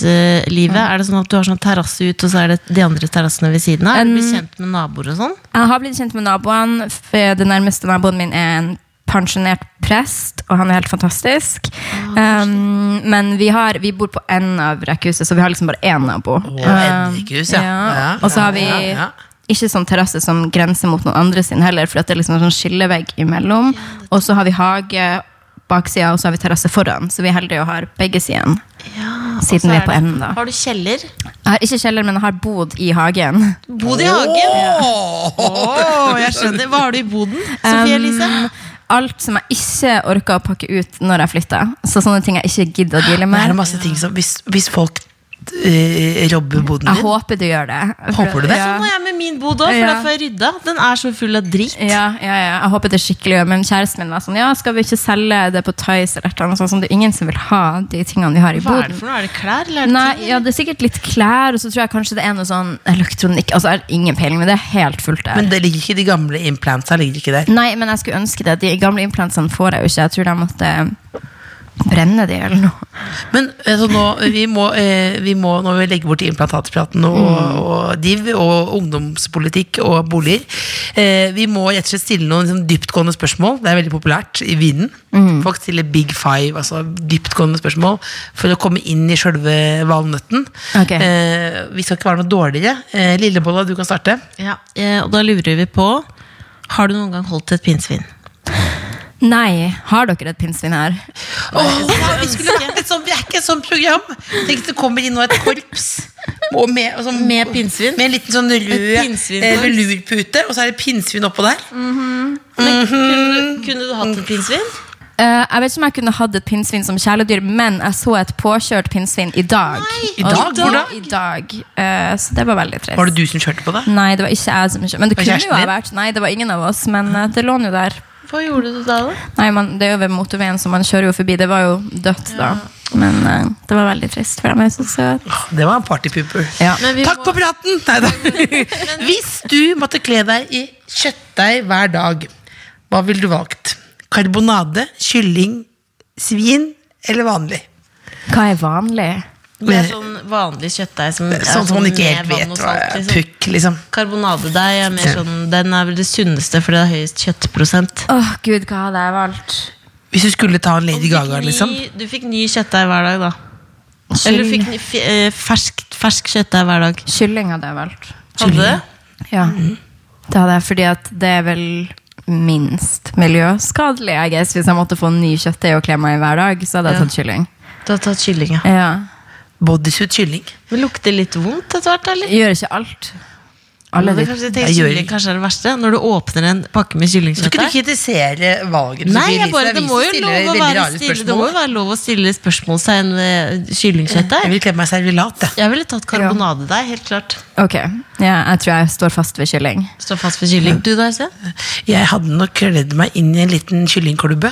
[SPEAKER 3] rekkehuslivet? Er det sånn at du har sånn terrasse ut, og så er det de andre terrassene ved siden av? Er du blitt kjent med naboer og sånn?
[SPEAKER 5] Jeg har blitt kjent med naboene. for Den nærmeste naboen min er en pensjonert prest, og han er helt fantastisk. um, men vi, har, vi bor på enden av rekkehuset, så vi har liksom bare én nabo.
[SPEAKER 4] enden rekkehus, ja. Ja,
[SPEAKER 5] Og så
[SPEAKER 4] ja,
[SPEAKER 5] har
[SPEAKER 4] ja,
[SPEAKER 5] vi
[SPEAKER 4] ja.
[SPEAKER 5] ikke sånn terrasse som grenser mot noen andre sin heller, for at det er liksom en sånn skillevegg imellom. Og så har vi hage baksida, og så har vi terrasse foran, så vi er heldige og har begge sidene. Siden vi er på enden, da.
[SPEAKER 3] Har du kjeller?
[SPEAKER 5] Jeg har ikke kjeller, men jeg har bodd i hagen.
[SPEAKER 3] Bod i hagen? Åh, jeg skjønner. Hva har du i boden? Sofie Elise?
[SPEAKER 5] Alt som jeg ikke orka å pakke ut når jeg flytta. Så sånne ting jeg ikke gidder å deale
[SPEAKER 4] Det er
[SPEAKER 5] med.
[SPEAKER 4] masse ting som Hvis, hvis folk eh, robber boden
[SPEAKER 5] Jeg
[SPEAKER 4] din
[SPEAKER 5] håper du gjør det.
[SPEAKER 4] Håper du det?
[SPEAKER 5] Ja.
[SPEAKER 3] Nå er jeg med min bod òg, for
[SPEAKER 5] Ja.
[SPEAKER 3] da får jeg rydda. Den er så full av drit.
[SPEAKER 5] Ja, ja, ja. Jeg håper det er skikkelig gjør. Men kjæresten min var sånn Ja, skal vi ikke selge det på Tice eller et eller annet sånt? Sånn, det er ingen som vil ha de tingene vi har
[SPEAKER 3] Hva
[SPEAKER 5] i
[SPEAKER 3] er det
[SPEAKER 5] boden.
[SPEAKER 3] for noe? Er det klær? Eller er det
[SPEAKER 5] Nei,
[SPEAKER 3] ting?
[SPEAKER 5] ja, Det er sikkert litt klær, og så tror jeg kanskje det er noe sånn elektronikk. Altså, jeg har ingen peiling, men det er helt fullt der.
[SPEAKER 4] Men det ligger ikke de gamle implantsa ligger ikke der.
[SPEAKER 5] Nei, men jeg skulle ønske det. De gamle implantsene får jeg jo ikke. Jeg tror jeg måtte eh, brenne de eller noe.
[SPEAKER 4] Men altså, nå, vi må, eh, vi må når vi legger bort implantatpraten og, og div og ungdomspolitikk og boliger eh, Vi må rett og slett stille noen liksom, dyptgående spørsmål. Det er veldig populært i vinden. Folk stiller big five, altså dyptgående spørsmål, for å komme inn i sjølve valnøtten.
[SPEAKER 5] Ok.
[SPEAKER 4] Eh, vi skal ikke være noe dårligere. Eh, Lillebolla, du kan starte.
[SPEAKER 3] Ja, eh, og da lurer vi på Har du noen gang holdt et pinnsvin?
[SPEAKER 5] Nei, har dere et pinnsvin her?
[SPEAKER 4] Åh, ja, vi, skulle vært et sånt, vi er ikke et sånt program. Tenk det kommer inn nå et korps. Og med, og sånn-
[SPEAKER 3] Med pinnsvin?
[SPEAKER 4] Med en liten sånn rød
[SPEAKER 3] pinnsvinkorps.
[SPEAKER 4] eh, velurpute, og så er det pinnsvin oppå der.
[SPEAKER 3] Mm. Kunne, kunne du hatt et pinnsvin?
[SPEAKER 5] Eh, jeg vet ikke om jeg kunne hatt et pinnsvin som kjæledyr, men jeg så et påkjørt pinnsvin i dag.
[SPEAKER 4] i dag?
[SPEAKER 5] Og-
[SPEAKER 4] Hvor da?
[SPEAKER 5] I dag. Eh, så det var veldig trist.
[SPEAKER 4] Var det du som kjørte på det?
[SPEAKER 5] Nei, det var ikke jeg som kjørte. Men det
[SPEAKER 4] Var
[SPEAKER 5] kunne
[SPEAKER 4] kjæresten
[SPEAKER 5] jo ha
[SPEAKER 4] din?
[SPEAKER 5] vært. Nei, det var ingen av oss, men eh, det lå nå der.
[SPEAKER 3] Hva gjorde du da? da?
[SPEAKER 5] Nei, man, Det er jo ved motorveien, så man kjører jo forbi. Det var jo dødt da. Men eh, det var veldig trist, for de er så søte.
[SPEAKER 4] Det var en partypooper.
[SPEAKER 5] Ja.
[SPEAKER 3] Men vi
[SPEAKER 4] Takk
[SPEAKER 3] må-
[SPEAKER 4] for praten! Neida. Hvis du måtte kle deg i Kjøttdeig hver dag. Hva ville du valgt? Karbonade, kylling, svin eller vanlig?
[SPEAKER 5] Hva er vanlig?
[SPEAKER 3] Det er sånn vanlig kjøttdeig som er
[SPEAKER 4] Sånn som man ikke
[SPEAKER 3] med
[SPEAKER 4] helt
[SPEAKER 3] vann
[SPEAKER 4] vet
[SPEAKER 3] og
[SPEAKER 4] hva
[SPEAKER 3] salt,
[SPEAKER 4] er.
[SPEAKER 3] liksom.
[SPEAKER 4] Pukk, liksom.
[SPEAKER 3] Karbonadedeig er mer sånn Den er vel det sunneste, fordi det er høyest kjøttprosent.
[SPEAKER 5] Åh, gud, hva hadde jeg valgt?
[SPEAKER 4] Hvis du skulle ta en Lady
[SPEAKER 3] Du fikk
[SPEAKER 4] Gaga, liksom.
[SPEAKER 3] ny- Du fikk ny kjøttdeig hver dag, da. Eller du fikk ny, f eh, fersk, fersk kjøttdeig hver dag.
[SPEAKER 5] Kylling hadde jeg valgt.
[SPEAKER 3] Hadde du det?
[SPEAKER 5] Ja. Det hadde jeg fordi at det er vel minst miljøskadelig, jeg guess. Hvis jeg måtte få en ny kjøttdeig og kle meg i hver dag, så hadde jeg
[SPEAKER 3] Ja.
[SPEAKER 5] tatt kylling.
[SPEAKER 3] Du har tatt kylling, ja.
[SPEAKER 5] Ja.
[SPEAKER 4] Bodysuit kylling.
[SPEAKER 3] Men lukter det litt vondt etter hvert, eller?
[SPEAKER 5] Jeg gjør ikke alt. Alle
[SPEAKER 3] Alle
[SPEAKER 5] de-
[SPEAKER 3] kanskje
[SPEAKER 4] Jeg
[SPEAKER 3] tenker
[SPEAKER 4] gjør
[SPEAKER 3] kylling
[SPEAKER 4] ikke.
[SPEAKER 3] kanskje er det verste Når du åpner en pakke med
[SPEAKER 4] Så kan du
[SPEAKER 3] kyllingkjøttdeig.
[SPEAKER 4] kritisere valget. til
[SPEAKER 3] Nei,
[SPEAKER 4] Sophie
[SPEAKER 3] jeg
[SPEAKER 4] Elise.
[SPEAKER 3] bare, det,
[SPEAKER 4] Avisen
[SPEAKER 3] må jo
[SPEAKER 4] stiller
[SPEAKER 3] lov å
[SPEAKER 4] veldig
[SPEAKER 3] være
[SPEAKER 4] rare
[SPEAKER 3] stille, det
[SPEAKER 4] spørsmål.
[SPEAKER 3] må jo være lov å stille spørsmålstegn ved
[SPEAKER 4] Jeg
[SPEAKER 3] eh, kyllingkjøttdeig.
[SPEAKER 4] vil kle meg servilat, jeg.
[SPEAKER 3] Jeg ville tatt karbonadedeig, helt klart.
[SPEAKER 5] Ok, ja, jeg tror jeg står fast ved kylling.
[SPEAKER 3] Stå fast for kylling. Du da, Else?
[SPEAKER 4] Jeg hadde nok kledd meg inn i en liten kyllingklubbe.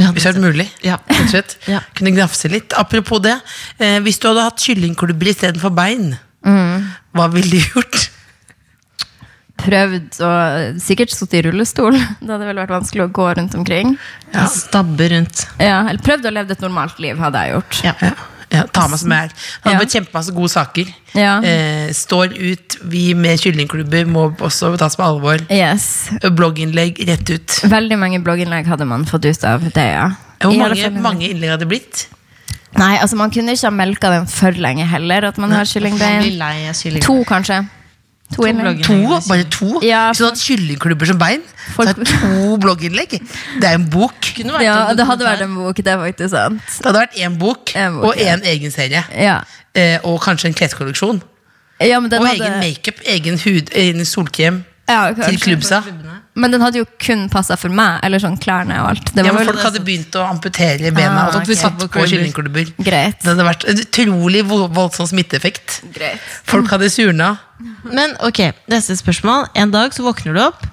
[SPEAKER 3] Ja,
[SPEAKER 4] hvis det hadde vært mulig.
[SPEAKER 3] Ja.
[SPEAKER 4] Rett og slett.
[SPEAKER 3] Ja.
[SPEAKER 4] Kunne gnafse litt. Apropos det, eh, hvis du hadde hatt kyllingklubber istedenfor bein,
[SPEAKER 3] Mm.
[SPEAKER 4] hva ville du gjort?
[SPEAKER 5] Prøvd og sikkert sittet i rullestol. Det hadde vel vært vanskelig å gå rundt omkring.
[SPEAKER 3] Stabbe rundt.
[SPEAKER 5] Ja, eller prøvd å leve et normalt liv, hadde jeg gjort.
[SPEAKER 3] Ja.
[SPEAKER 4] Ja. Ja, ta meg som jeg er. Han
[SPEAKER 5] Ja.
[SPEAKER 4] har kjempemasse gode saker.
[SPEAKER 5] Ja.
[SPEAKER 4] Eh, står ut. Vi med kyllingklubber må også tas på alvor.
[SPEAKER 5] Yes.
[SPEAKER 4] Blogginnlegg rett ut.
[SPEAKER 5] Veldig mange blogginnlegg hadde man fått ut av det, ja.
[SPEAKER 4] Hvor
[SPEAKER 5] I alle
[SPEAKER 4] mange,
[SPEAKER 5] fall-
[SPEAKER 4] mange innlegg hadde det blitt?
[SPEAKER 5] Nei, altså man kunne ikke ha melka den for lenge heller, at man har
[SPEAKER 3] Jeg blir
[SPEAKER 5] kyllingbein.
[SPEAKER 3] lei av kylling.
[SPEAKER 5] To, kanskje. To, innlegg.
[SPEAKER 4] To? Bare to?
[SPEAKER 5] Ja,
[SPEAKER 4] Hvis du hadde hatt kyllingklubber som bein, så
[SPEAKER 5] Folk-
[SPEAKER 4] er to blogginnlegg. Det er en bok.
[SPEAKER 3] Kunne vært
[SPEAKER 5] Ja,
[SPEAKER 3] en
[SPEAKER 5] det hadde
[SPEAKER 3] dokumentar.
[SPEAKER 5] vært en bok, det er faktisk sant.
[SPEAKER 4] Det hadde vært én bok,
[SPEAKER 5] En bok,
[SPEAKER 4] og
[SPEAKER 5] ja.
[SPEAKER 4] én egen serie.
[SPEAKER 5] Ja,
[SPEAKER 4] Eh, og kanskje en kleskolleksjon.
[SPEAKER 5] ja men den
[SPEAKER 4] Og
[SPEAKER 5] hadde...
[SPEAKER 4] egen makeup, egen hud, egen solkrem
[SPEAKER 5] Ja,
[SPEAKER 4] til
[SPEAKER 5] kanskje.
[SPEAKER 4] klubbsa.
[SPEAKER 5] Men den hadde jo kun passa for meg, eller sånn klærne og alt. Det
[SPEAKER 4] Ja,
[SPEAKER 5] var
[SPEAKER 4] men
[SPEAKER 5] vel
[SPEAKER 4] folk hadde begynt å amputere bena
[SPEAKER 5] Ah,
[SPEAKER 4] og
[SPEAKER 5] ok.
[SPEAKER 4] satt på kyllingklubber.
[SPEAKER 5] greit.
[SPEAKER 4] Det hadde vært en utrolig vo- voldsom smitteeffekt.
[SPEAKER 5] greit.
[SPEAKER 4] Folk hadde surna.
[SPEAKER 3] Men ok, neste spørsmål. En dag så våkner du opp.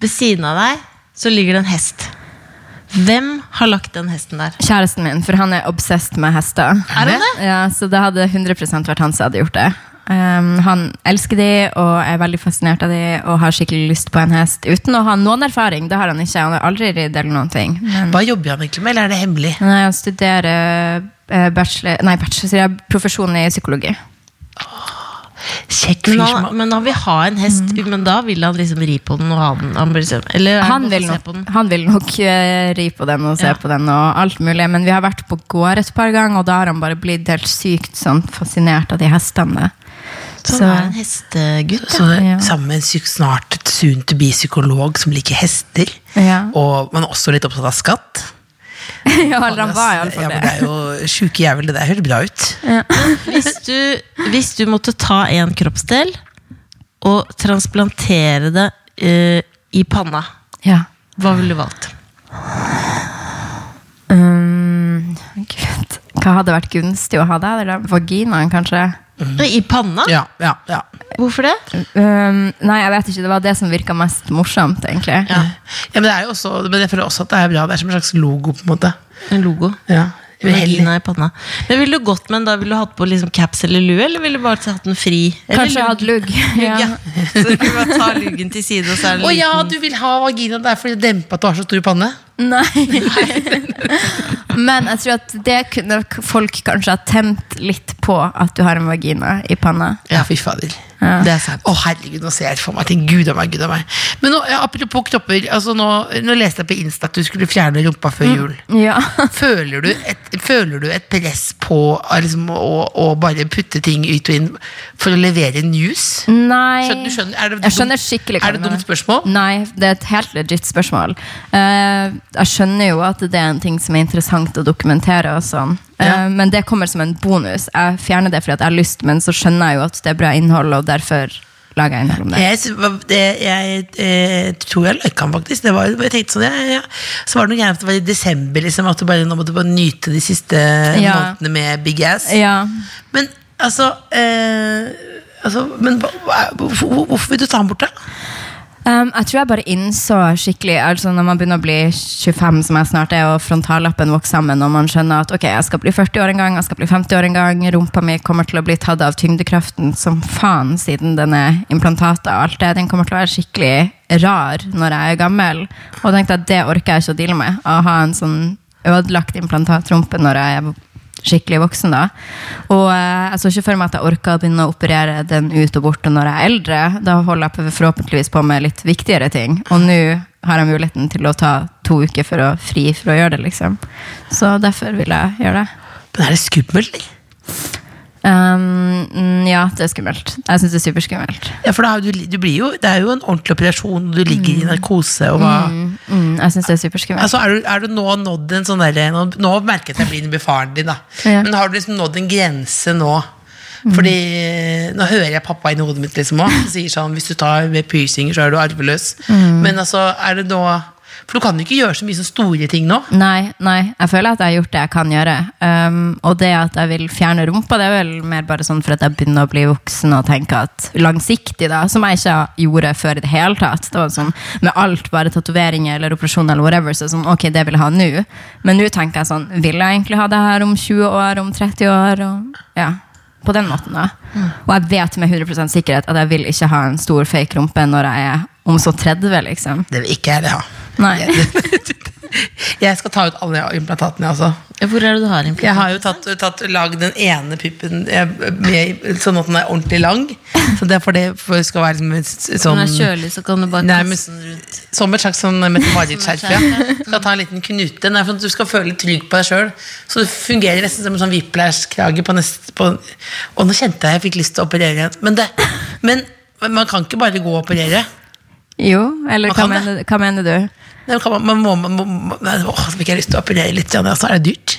[SPEAKER 3] Ved siden av deg så ligger det en hest. Hvem har lagt den hesten der?
[SPEAKER 5] Kjæresten min, for han er obsessed med hester.
[SPEAKER 3] Er han det?
[SPEAKER 5] Ja, så det hadde 100 vært han som hadde gjort det. Um, han elsker de og er veldig fascinert av de og har skikkelig lyst på en hest. Uten å ha noen erfaring. Det har han ikke. Han har aldri ridd eller noen ting. Men,
[SPEAKER 4] Hva jobber han egentlig med, eller er det hemmelig?
[SPEAKER 5] nei, han studerer eh, bachelor, nei, bachelor, sier jeg, profesjon i psykologi.
[SPEAKER 4] Kjekk fyr
[SPEAKER 3] Men
[SPEAKER 4] som
[SPEAKER 3] han, men han vil ha en hest, men da vil han liksom ri på den og ha den. Han blir liksom, eller er
[SPEAKER 5] Han
[SPEAKER 3] det
[SPEAKER 5] vil,
[SPEAKER 3] noe å se
[SPEAKER 5] nok,
[SPEAKER 3] på den?
[SPEAKER 5] han vil nok eh, ri på den og se
[SPEAKER 3] Ja.
[SPEAKER 5] på den og alt mulig. Men vi har vært på gård et par ganger, og da har han bare blitt helt sykt sånn, fascinert av de hestene.
[SPEAKER 3] Så
[SPEAKER 5] Så-
[SPEAKER 3] han Sånn er en hestegutt.
[SPEAKER 4] Så det,
[SPEAKER 5] Ja.
[SPEAKER 4] Sammen med en psyk- snart soon to be-psykolog som liker hester,
[SPEAKER 5] Ja.
[SPEAKER 4] og, men også litt opptatt av skatt.
[SPEAKER 5] ja, eller han var
[SPEAKER 4] ja,
[SPEAKER 5] iallfall
[SPEAKER 4] men
[SPEAKER 5] det.
[SPEAKER 4] det er jo sjuke jævel, det der høres bra ut.
[SPEAKER 3] Hvis du, hvis du måtte ta en kroppsdel og transplantere det eh, i panna,
[SPEAKER 5] Ja.
[SPEAKER 3] hva ville du valgt?
[SPEAKER 5] Um, Gud. Hva hadde vært gunstig å ha der? Eller Vaginaen, kanskje?
[SPEAKER 3] I panna?
[SPEAKER 4] Ja, ja, ja.
[SPEAKER 3] Hvorfor det?
[SPEAKER 5] Um, nei, jeg vet ikke. Det var det som virka mest morsomt, egentlig.
[SPEAKER 4] Ja. men det er jo også, men jeg føler også at det er bra. Det er som en slags logo, på en måte.
[SPEAKER 3] En logo.
[SPEAKER 4] Ja.
[SPEAKER 3] Vagina i panna. Men ville du gått med en da? Ville du hatt på liksom caps eller lue, eller ville du bare hatt den fri? Eller
[SPEAKER 5] Kanskje jeg hadde lugg.
[SPEAKER 3] Ja.
[SPEAKER 5] Ja.
[SPEAKER 3] Så du kunne bare ta luggen til side, og så er det
[SPEAKER 4] Å ja,
[SPEAKER 3] liten-
[SPEAKER 4] du vil ha vagina, det er fordi det demper at du har så stor panne?
[SPEAKER 5] Nei. Men jeg tror at det kunne k- folk kanskje ha tent litt på at du har en vagina i panna.
[SPEAKER 4] Ja, fy fader.
[SPEAKER 3] Det er sant.
[SPEAKER 4] Å herregud, nå ser jeg for meg ting. Gud av meg, gud av meg. Men nå, ja, apropos kropper, altså nå, nå leste jeg på Insta at du skulle fjerne rumpa før jul.
[SPEAKER 5] Ja.
[SPEAKER 4] Føler du et, føler du et press på ah, liksom, å, å bare putte ting ut og inn for å levere news?
[SPEAKER 5] Nei.
[SPEAKER 4] Skjønner- du skjønner- er det
[SPEAKER 5] jeg
[SPEAKER 4] dumt-
[SPEAKER 5] skjønner skikkelig hva
[SPEAKER 4] er det
[SPEAKER 5] du mener.
[SPEAKER 4] dumt spørsmål?
[SPEAKER 5] Nei, det er et helt legit spørsmål. Eh, jeg skjønner jo at det er en ting som er interessant å dokumentere, og sånn. Eh,
[SPEAKER 4] Ja.
[SPEAKER 5] men det kommer som en bonus. Jeg fjerner det fordi at jeg har lyst, men så skjønner jeg jo at det er bra innhold, og derfor lager jeg innhold om det.
[SPEAKER 4] Jeg, s- hva- det- jeg, eh, tror jeg lika den faktisk. Det var, jeg tenkte sånn, ja, ja. Så var det noe greier at det var i desember, liksom, at du bare, nå måtte du bare nyte de siste
[SPEAKER 5] Ja.
[SPEAKER 4] månedene med Big Ass.
[SPEAKER 5] Ja.
[SPEAKER 4] Men altså, eh, altså Men hva- hva- hvorfor, hvorfor vil du ta den bort, da?
[SPEAKER 5] Um, jeg tror jeg bare innså skikkelig altså Når man begynner å bli 25, som jeg snart er, og frontallappen vokser sammen, og man skjønner at ok, jeg skal bli 40 år en gang, jeg skal bli 50 år en gang, rumpa mi kommer til å bli tatt av tyngdekraften som faen, siden den er implantatet og alt det. Den kommer til å være skikkelig rar når jeg er gammel. Og tenkte at det orker jeg ikke å deale med. Å ha en sånn ødelagt implantatrumpe når jeg er skikkelig voksen da. Og eh, jeg så ikke for meg at jeg orka å begynne å operere den ut og bort og når jeg er eldre. Da holder jeg forhåpentligvis på med litt viktigere ting. Og nå har jeg muligheten til å ta to uker for å fri for å gjøre det, liksom. Så derfor vil jeg gjøre det.
[SPEAKER 4] Men er det skummelt? eller?
[SPEAKER 5] Um, mm, ja, det er skummelt. Jeg syns det er superskummelt.
[SPEAKER 4] Ja, for da, er du, du blir jo, Det er jo en ordentlig operasjon, og du ligger i narkose. og hva...
[SPEAKER 5] Mm, mm, jeg synes det er superskummelt.
[SPEAKER 4] Altså, er, du, er du nå nådd en sånn derre nå, nå merket jeg blir med faren din, da.
[SPEAKER 5] Ja.
[SPEAKER 4] Men har du liksom nådd en grense nå? Fordi eh, Nå hører jeg pappa inni hodet mitt liksom òg. Sier sånn hvis du tar med piercinger, så er du arveløs. Men altså, er det nå For du kan jo ikke gjøre så mye sånne store ting nå.
[SPEAKER 5] Nei, nei, jeg føler at jeg har gjort det jeg kan gjøre. Um, og det at jeg vil fjerne rumpa, det er vel mer bare sånn for at jeg begynner å bli voksen og tenke at langsiktig, da, som jeg ikke gjorde før i det hele tatt. Det var sånn med alt, bare tatoveringer eller operasjoner eller whatever, så er det sånn, ok, det vil jeg ha nå. Men nå tenker jeg sånn, vil jeg egentlig ha det her om 20 år, om 30 år? Og, ja. På den måten, da. Og jeg vet med 100 sikkerhet at jeg vil ikke ha en stor fake rumpe når jeg er om så 30, liksom.
[SPEAKER 4] Det vil ikke jeg ha.
[SPEAKER 5] Nei.
[SPEAKER 4] Jeg skal ta ut alle implantatene, jeg også.
[SPEAKER 3] Hvor er det du har implantat?
[SPEAKER 4] Jeg har jo tatt, tatt lagd den ene puppen eh, med, sånn at den er ordentlig lang. Så det er for det for det skal være liksom en s-
[SPEAKER 3] Når
[SPEAKER 4] sånn
[SPEAKER 3] det er kjølig, så kan du bare
[SPEAKER 4] Nei, men-
[SPEAKER 3] kaste den rundt.
[SPEAKER 4] Som et slags sånn metafariskjerf. Ja. Skal ta en liten knute. Nei, for at du skal føle trygg på deg sjøl. Så det fungerer nesten som en sånn whiplash-krage på neste på, Og nå kjente jeg jeg fikk lyst til å operere igjen. Men, det, men man kan ikke bare gå og operere.
[SPEAKER 5] Jo, eller
[SPEAKER 4] Man
[SPEAKER 5] hva
[SPEAKER 4] kan det.
[SPEAKER 5] mener, hva mener du?
[SPEAKER 4] Nei, kan man, man må, man må, nei, åh, så fikk jeg lyst til å operere litt. Janne, altså, er det dyrt?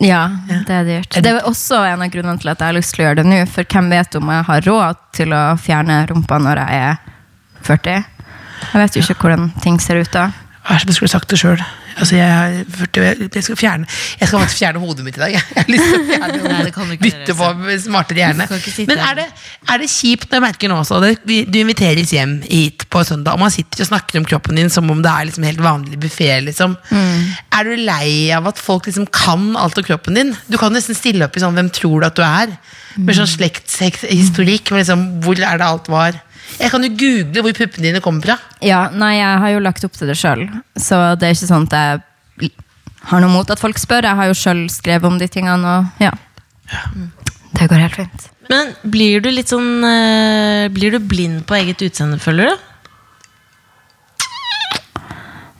[SPEAKER 5] Ja, det er dyrt. Det er også en av grunnene til at jeg har lyst til å gjøre det nå. For hvem vet om jeg har råd til å fjerne rumpa når jeg er 40? Jeg vet jo ikke hvordan ting ser ut da.
[SPEAKER 4] Hva er det som jeg skulle sagt det sjøl? Altså, jeg, er 40 jeg, jeg, skal fjerne- jeg skal faktisk fjerne hodet mitt i dag. Jeg, jeg har lyst til å fjerne
[SPEAKER 3] Nei, det kan du
[SPEAKER 4] hodet.
[SPEAKER 3] ikke
[SPEAKER 4] Bytte på
[SPEAKER 3] gjøre, altså.
[SPEAKER 4] med smartere hjerne.
[SPEAKER 3] Du skal ikke sitte
[SPEAKER 4] Men
[SPEAKER 3] her.
[SPEAKER 4] er det, er det kjipt når jeg merker nå også det, vi, Du inviteres hjem hit på søndag, og man sitter og snakker om kroppen din som om det er liksom helt vanlig buffé. Liksom.
[SPEAKER 3] Mm.
[SPEAKER 4] Er du lei av at folk liksom kan alt om kroppen din? Du kan nesten stille opp i sånn 'Hvem tror du at du er?' Med
[SPEAKER 3] Mm.
[SPEAKER 4] sånn slektshistorikk. med Liksom, hvor er det alt var? Jeg kan jo google hvor puppene dine kommer fra.
[SPEAKER 5] Ja, nei, jeg har jo lagt opp til det sjøl, så det er ikke sånn at jeg har noe mot at folk spør. Jeg har jo sjøl skrevet om de tingene, og ja. Det går helt fint.
[SPEAKER 3] Men blir du litt sånn eh, Blir du blind på eget utseende, føler du?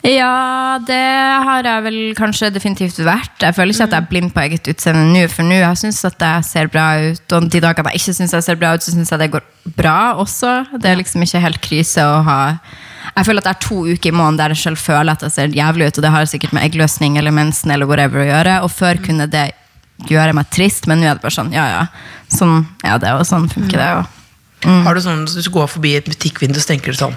[SPEAKER 5] Ja, det har jeg vel kanskje definitivt vært. Jeg føler ikke at
[SPEAKER 4] Mm.
[SPEAKER 5] jeg er blind på eget utseende nå, for nå jeg syns at jeg ser bra ut. Og de dagene jeg ikke syns jeg ser bra ut, så syns jeg det går bra også. Det er liksom ikke helt krise å ha Jeg føler at det er to uker i måneden der jeg selv føler at jeg ser jævlig ut, og det har sikkert med eggløsning eller mensen eller whatever å gjøre. Og
[SPEAKER 4] Mm.
[SPEAKER 5] før kunne det gjøre meg trist, men nå er det bare sånn, ja ja. Sånn er det, og sånn funker
[SPEAKER 4] Mm.
[SPEAKER 5] det. Og
[SPEAKER 4] Har du sånn, Hvis du går forbi et butikkvindu, så tenker du sånn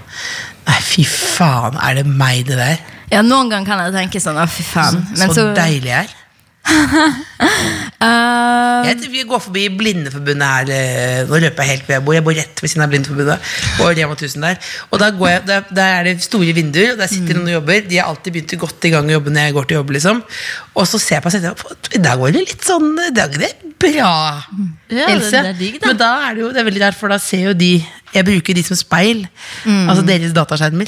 [SPEAKER 4] Nei, fy faen, er det meg det der?
[SPEAKER 5] ja, noen ganger kan jeg tenke sånn, å fy faen.
[SPEAKER 4] Så,
[SPEAKER 5] Men så,
[SPEAKER 4] deilig jeg er.
[SPEAKER 3] Um,
[SPEAKER 5] Eh,
[SPEAKER 4] Jeg tror vi går forbi Blindeforbundet her eh, Nå løper jeg helt hvor jeg bor. Jeg bor rett ved siden av Blindeforbundet. Og Rema 1000 der. Og da går jeg, der, der er det store vinduer, og der
[SPEAKER 3] Mm.
[SPEAKER 4] sitter noen og jobber. De har alltid begynt godt i gang i jobben når jeg går til jobb. liksom Og så ser jeg på seg selv I dag går det litt sånn I dag er det bra,
[SPEAKER 3] Ja, det-
[SPEAKER 4] Else.
[SPEAKER 3] det er digg, da.
[SPEAKER 4] Men da er det jo det er veldig rart, for da ser jo de Jeg bruker de som speil.
[SPEAKER 3] Mm.
[SPEAKER 4] Altså deres dataskjermer.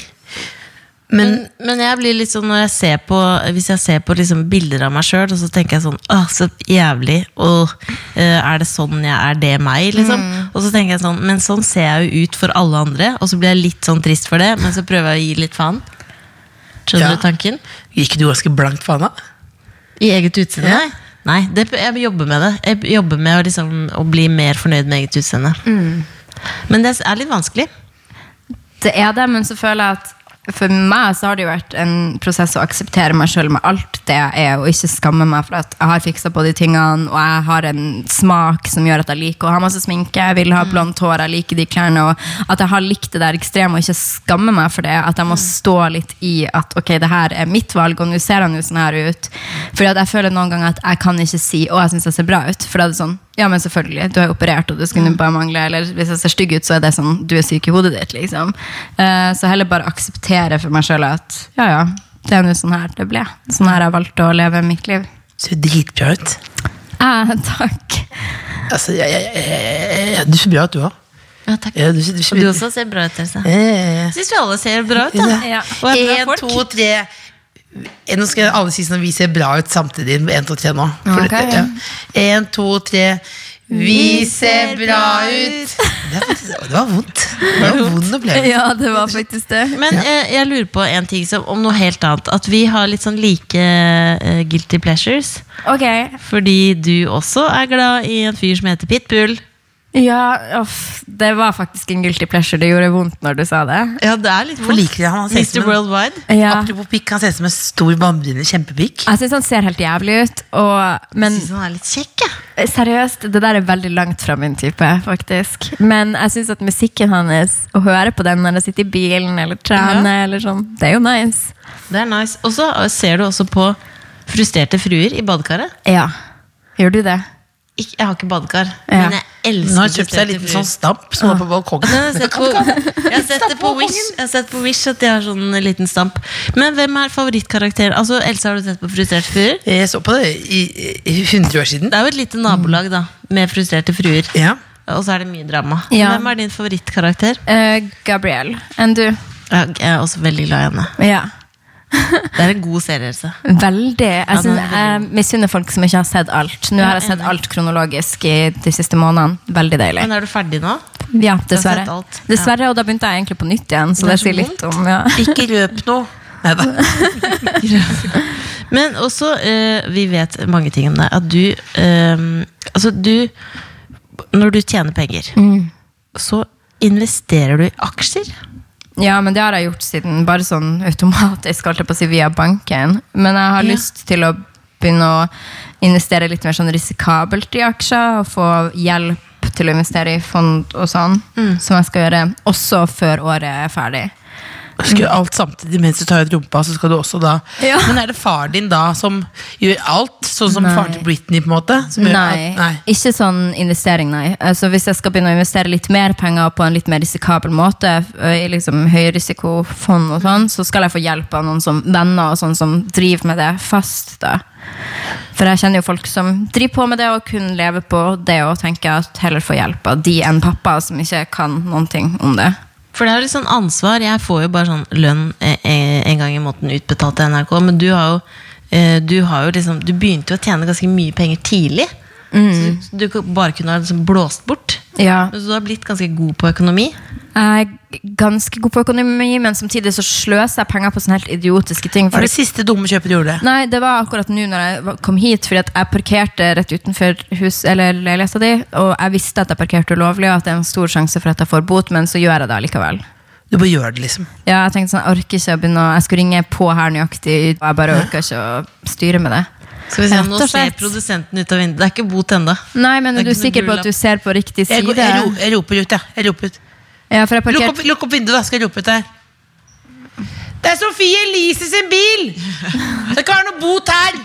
[SPEAKER 4] Men
[SPEAKER 3] Men, men jeg blir litt sånn når jeg ser på Hvis jeg ser på liksom bilder av meg sjøl, og så tenker jeg sånn Åh, så jævlig. Og eh, er det sånn jeg er det meg, liksom?
[SPEAKER 4] Mm.
[SPEAKER 3] Og så tenker jeg sånn Men sånn ser jeg jo ut for alle andre, og så blir jeg litt sånn trist for det, men så prøver jeg å gi litt faen. Skjønner
[SPEAKER 4] Ja.
[SPEAKER 3] du tanken?
[SPEAKER 4] Gikk du ganske blankt på Anna?
[SPEAKER 3] I eget utseende?
[SPEAKER 4] Ja.
[SPEAKER 3] Nei. Nei, det, jeg jobber med det. Jeg jobber med å, liksom, å bli mer fornøyd med eget utseende.
[SPEAKER 4] Mm.
[SPEAKER 3] Men det er litt vanskelig.
[SPEAKER 5] Det er det, men så føler jeg at for meg så har det jo vært en prosess å akseptere meg sjøl med alt det jeg er, og ikke skamme meg for at jeg har fiksa på de tingene, og jeg har en smak som gjør at jeg liker å ha masse sminke, jeg vil ha blondt hår, jeg liker de klærne, og at jeg har likt det der ekstreme og ikke skamme meg for det. At jeg må stå litt i at ok, det her er mitt valg, og nå ser han jo sånn her ut. Fordi at jeg føler noen ganger at jeg kan ikke si å, jeg syns jeg ser bra ut. For da er det sånn Ja, men selvfølgelig. Du er operert, og du skulle bare mangle Eller hvis jeg ser stygg ut, så er det sånn du er syk i hodet ditt, liksom. Eh, så heller bare akseptere for meg sjøl at ja, ja, det er nå sånn her det ble. Sånn her jeg valgte å leve mitt liv.
[SPEAKER 4] Ser dritbra ut.
[SPEAKER 5] Eh, takk.
[SPEAKER 4] Altså, jeg, jeg, jeg, jeg, du ser bra ut, du òg.
[SPEAKER 3] Ja, takk.
[SPEAKER 4] Ja, du, ser- du,
[SPEAKER 3] Og
[SPEAKER 4] ser-
[SPEAKER 3] du også ser bra ut, Elsa.
[SPEAKER 4] Ja, ja, ja.
[SPEAKER 3] Syns vi alle ser bra ut, da.
[SPEAKER 5] Ja.
[SPEAKER 3] Og er
[SPEAKER 4] En,
[SPEAKER 3] bra
[SPEAKER 4] to,
[SPEAKER 3] folk.
[SPEAKER 4] tre. Eh, Nå skal alle si sånn vi ser bra ut samtidig. En, to, tre nå. For
[SPEAKER 5] Ok.
[SPEAKER 4] dette, ja. En, to, tre. Vi ser bra ut! Det, er faktisk- det var vondt. Det var en vond opplevelse.
[SPEAKER 5] Ja, det var faktisk det.
[SPEAKER 3] Men eh, jeg lurer på en ting som, om noe helt annet. At vi har litt sånn like eh, guilty pleasures.
[SPEAKER 5] Ok.
[SPEAKER 3] Fordi du også er glad i en fyr som heter Pitbull.
[SPEAKER 5] Ja, uff, det var faktisk en guilty pleasure. Det gjorde vondt når du sa det.
[SPEAKER 3] Ja, det er litt
[SPEAKER 4] For liker jeg han, han ser ut
[SPEAKER 3] Mr.
[SPEAKER 4] som en-
[SPEAKER 3] Worldwide.
[SPEAKER 5] Ja.
[SPEAKER 4] Apropos pikk, han ser ut som en stor bambine. Kjempepikk.
[SPEAKER 5] Jeg syns han ser helt jævlig ut, og, men
[SPEAKER 3] Syns han er litt kjekk, jeg.
[SPEAKER 5] Seriøst, det der er veldig langt fra min type, faktisk. Men jeg syns at musikken hans, å høre på den når jeg sitter i bilen eller trener, eller sånn, det er jo nice.
[SPEAKER 3] Det er nice. Og så eh, ser du også på frustrerte fruer i badekaret.
[SPEAKER 5] Ja. Gjør du det?
[SPEAKER 3] Ikk- jeg har ikke badekar,
[SPEAKER 5] Ja.
[SPEAKER 3] men jeg elsker
[SPEAKER 4] Nå har han kjøpt seg en liten sånn stamp som var på balkongen.
[SPEAKER 3] Jeg har sett på, jeg har sett det på Wish Jeg har sett på Wish at de har sånn liten stamp. Men hvem er favorittkarakteren? Altså, Elsa, har du sett på Frustrerte fruer?
[SPEAKER 4] Jeg så på det i, i 100 år siden.
[SPEAKER 3] Det er jo et lite nabolag da med frustrerte fruer.
[SPEAKER 4] Ja.
[SPEAKER 3] Og så er det mye drama.
[SPEAKER 5] Ja.
[SPEAKER 3] Hvem er din favorittkarakter?
[SPEAKER 5] Uh, Gabriel. Enn du?
[SPEAKER 3] Jeg er også veldig glad i henne.
[SPEAKER 5] Ja.
[SPEAKER 3] Det er en god serie. Else.
[SPEAKER 5] Veldig. Jeg,
[SPEAKER 3] den
[SPEAKER 5] synes,
[SPEAKER 3] er
[SPEAKER 5] jeg misunner folk som ikke har sett alt. Nå har jeg sett alt kronologisk i de siste månedene. Veldig deilig.
[SPEAKER 3] Men er du ferdig nå?
[SPEAKER 5] Ja, dessverre.
[SPEAKER 3] sett alt. Ja.
[SPEAKER 5] Dessverre, Og da begynte jeg egentlig på nytt igjen, så
[SPEAKER 3] Det er
[SPEAKER 5] det
[SPEAKER 3] så
[SPEAKER 5] sier litt om ja.
[SPEAKER 4] Ikke røp noe. Neida.
[SPEAKER 3] Men også, eh, vi vet mange ting om deg. At du eh, Altså, du Når du tjener penger, så investerer du i aksjer.
[SPEAKER 5] Ja, men det har jeg gjort siden bare sånn automatisk, holdt jeg på å si, via banken. Men jeg har
[SPEAKER 3] Ja.
[SPEAKER 5] lyst til å begynne å investere litt mer sånn risikabelt i aksjer, og få hjelp til å investere i fond og sånn, som jeg skal gjøre også før året er ferdig.
[SPEAKER 4] Skal gjøre alt samtidig mens du tar ut rumpa, så skal du også da
[SPEAKER 5] Ja.
[SPEAKER 4] Men er det far din da som gjør alt, sånn som
[SPEAKER 5] Nei.
[SPEAKER 4] faren til Britney, på en måte? Som gjør
[SPEAKER 5] Nei,
[SPEAKER 4] alt? nei.
[SPEAKER 5] ikke sånn investering, nei. Altså, hvis jeg skal begynne å investere litt mer penger på en litt mer risikabel måte, ø, i liksom høyrisikofond og sånn, så skal jeg få hjelp av noen som venner og sånn som driver med det fast. da. For jeg kjenner jo folk som driver på med det og kun lever på det, og tenker at heller få hjelp av de enn pappa, som ikke kan noen ting om det.
[SPEAKER 3] For det er jo litt sånn ansvar. Jeg får jo bare sånn lønn eh, eh, en gang i måneden utbetalt til NRK, men du har jo eh, du, har jo liksom, du begynte jo å tjene ganske mye penger tidlig. Mm. Så du kan- bare kunne ha liksom blåst bort.
[SPEAKER 5] Ja.
[SPEAKER 3] Så du har blitt ganske god på økonomi.
[SPEAKER 5] Jeg er g- ganske god på økonomi, men samtidig så sløser jeg penger på sånne helt idiotiske ting.
[SPEAKER 4] Hva er det siste dumme kjøpet du gjorde?
[SPEAKER 5] Nei, det var akkurat nå når jeg var- kom hit, fordi at jeg parkerte rett utenfor hus, eller leiligheten din, og jeg visste at jeg parkerte ulovlig, og at det er en stor sjanse for at jeg får bot, men så gjør jeg det allikevel.
[SPEAKER 4] Du bare gjør det, liksom.
[SPEAKER 5] Ja, jeg tenkte sånn, jeg orker ikke å begynne å, jeg skulle ringe på her nøyaktig, og jeg bare orker ikke å styre med det.
[SPEAKER 3] Skal vi se,
[SPEAKER 5] Rett
[SPEAKER 3] Nå
[SPEAKER 5] og
[SPEAKER 3] ser
[SPEAKER 5] slett.
[SPEAKER 3] produsenten ut av vinduet. Det er ikke bot ennå.
[SPEAKER 5] Nei, men er
[SPEAKER 3] Det
[SPEAKER 5] du
[SPEAKER 3] er ikke
[SPEAKER 5] sikker
[SPEAKER 3] noe
[SPEAKER 5] på at du ser på riktig
[SPEAKER 4] Jeg, går, jeg, ro,
[SPEAKER 5] side?
[SPEAKER 4] jeg roper ut, jeg. jeg roper ut.
[SPEAKER 5] Ja, for jeg
[SPEAKER 4] Lukk
[SPEAKER 5] parkerte...
[SPEAKER 4] opp, lukk opp vinduet, da, skal jeg rope ut her. Det er Sofie Elise sin bil! Det kan være noe bot her!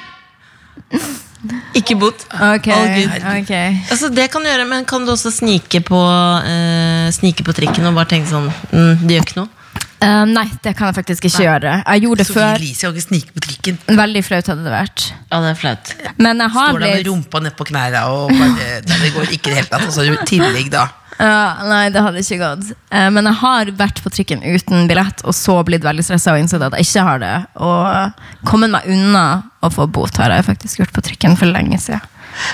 [SPEAKER 3] Ikke bot.
[SPEAKER 5] Ok,
[SPEAKER 3] All good.
[SPEAKER 5] ok.
[SPEAKER 3] Altså Det kan du gjøre, men kan du også snike på eh, Snike på trikken og bare tenke sånn mm, Det gjør ikke noe.
[SPEAKER 5] Eh, nei, det kan jeg faktisk ikke gjøre. Jeg gjorde det
[SPEAKER 4] Sofie
[SPEAKER 5] før.
[SPEAKER 4] Elise kan ikke snike på trikken.
[SPEAKER 5] Veldig flaut hadde det vært.
[SPEAKER 3] Ja, det er flaut.
[SPEAKER 5] Men jeg har
[SPEAKER 4] Står der med
[SPEAKER 5] blitt...
[SPEAKER 4] rumpa nedpå knærne og bare Nei, det går ikke i det hele tatt. Og så i tillegg, da.
[SPEAKER 5] Ja, nei, det hadde ikke gått. Eh, men jeg har vært på trikken uten billett, og så blitt veldig stressa og innsett at jeg ikke har det. Og kommet meg unna å få bot har jeg faktisk gjort på trikken for lenge siden.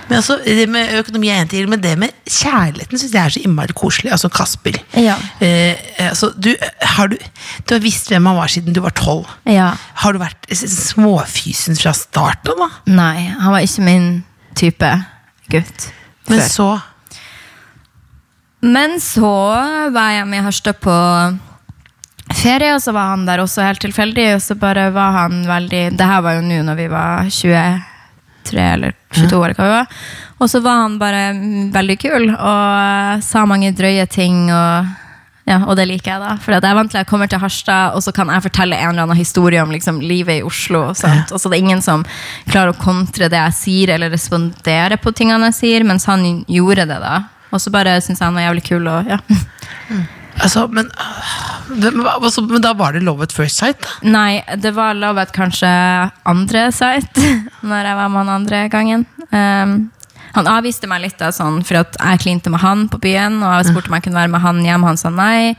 [SPEAKER 4] Men altså, det med økonomi er en ting, men det med kjærligheten syns jeg er så innmari koselig. Altså Kasper.
[SPEAKER 5] Ja.
[SPEAKER 4] Eh, altså, du, har du, du har visst hvem han var siden du var tolv.
[SPEAKER 5] Ja.
[SPEAKER 4] Har du vært s- småfysen fra starten da?
[SPEAKER 5] Nei, han var ikke min type gutt.
[SPEAKER 4] Men
[SPEAKER 5] før.
[SPEAKER 4] så
[SPEAKER 5] Men så var jeg med Harstad på ferie, og så var han der også helt tilfeldig. Og så bare var han veldig Det her var jo nå når vi var 23 eller 22 år. Hva vi var. Og så var han bare mm, veldig kul og sa mange drøye ting. og Ja, og det liker jeg, da. For at jeg er vant til at jeg kommer til Harstad, og så kan jeg fortelle en eller annen historie om liksom, livet i Oslo. Sant? Og så det er ingen som klarer å kontre det jeg sier, eller respondere på tingene jeg sier, mens han gjorde det, da. Og så bare syns jeg han var jævlig kul, og ja.
[SPEAKER 4] Altså, men, hvem- hva- altså, men da var det love at first sight, da.
[SPEAKER 5] Nei, det var lovet kanskje andre site Når jeg var med han andre gangen Ehm, Han avviste meg litt da sånn, For at jeg klinte med han på byen Og jeg spurte om jeg kunne være med han hjem Han sa nei,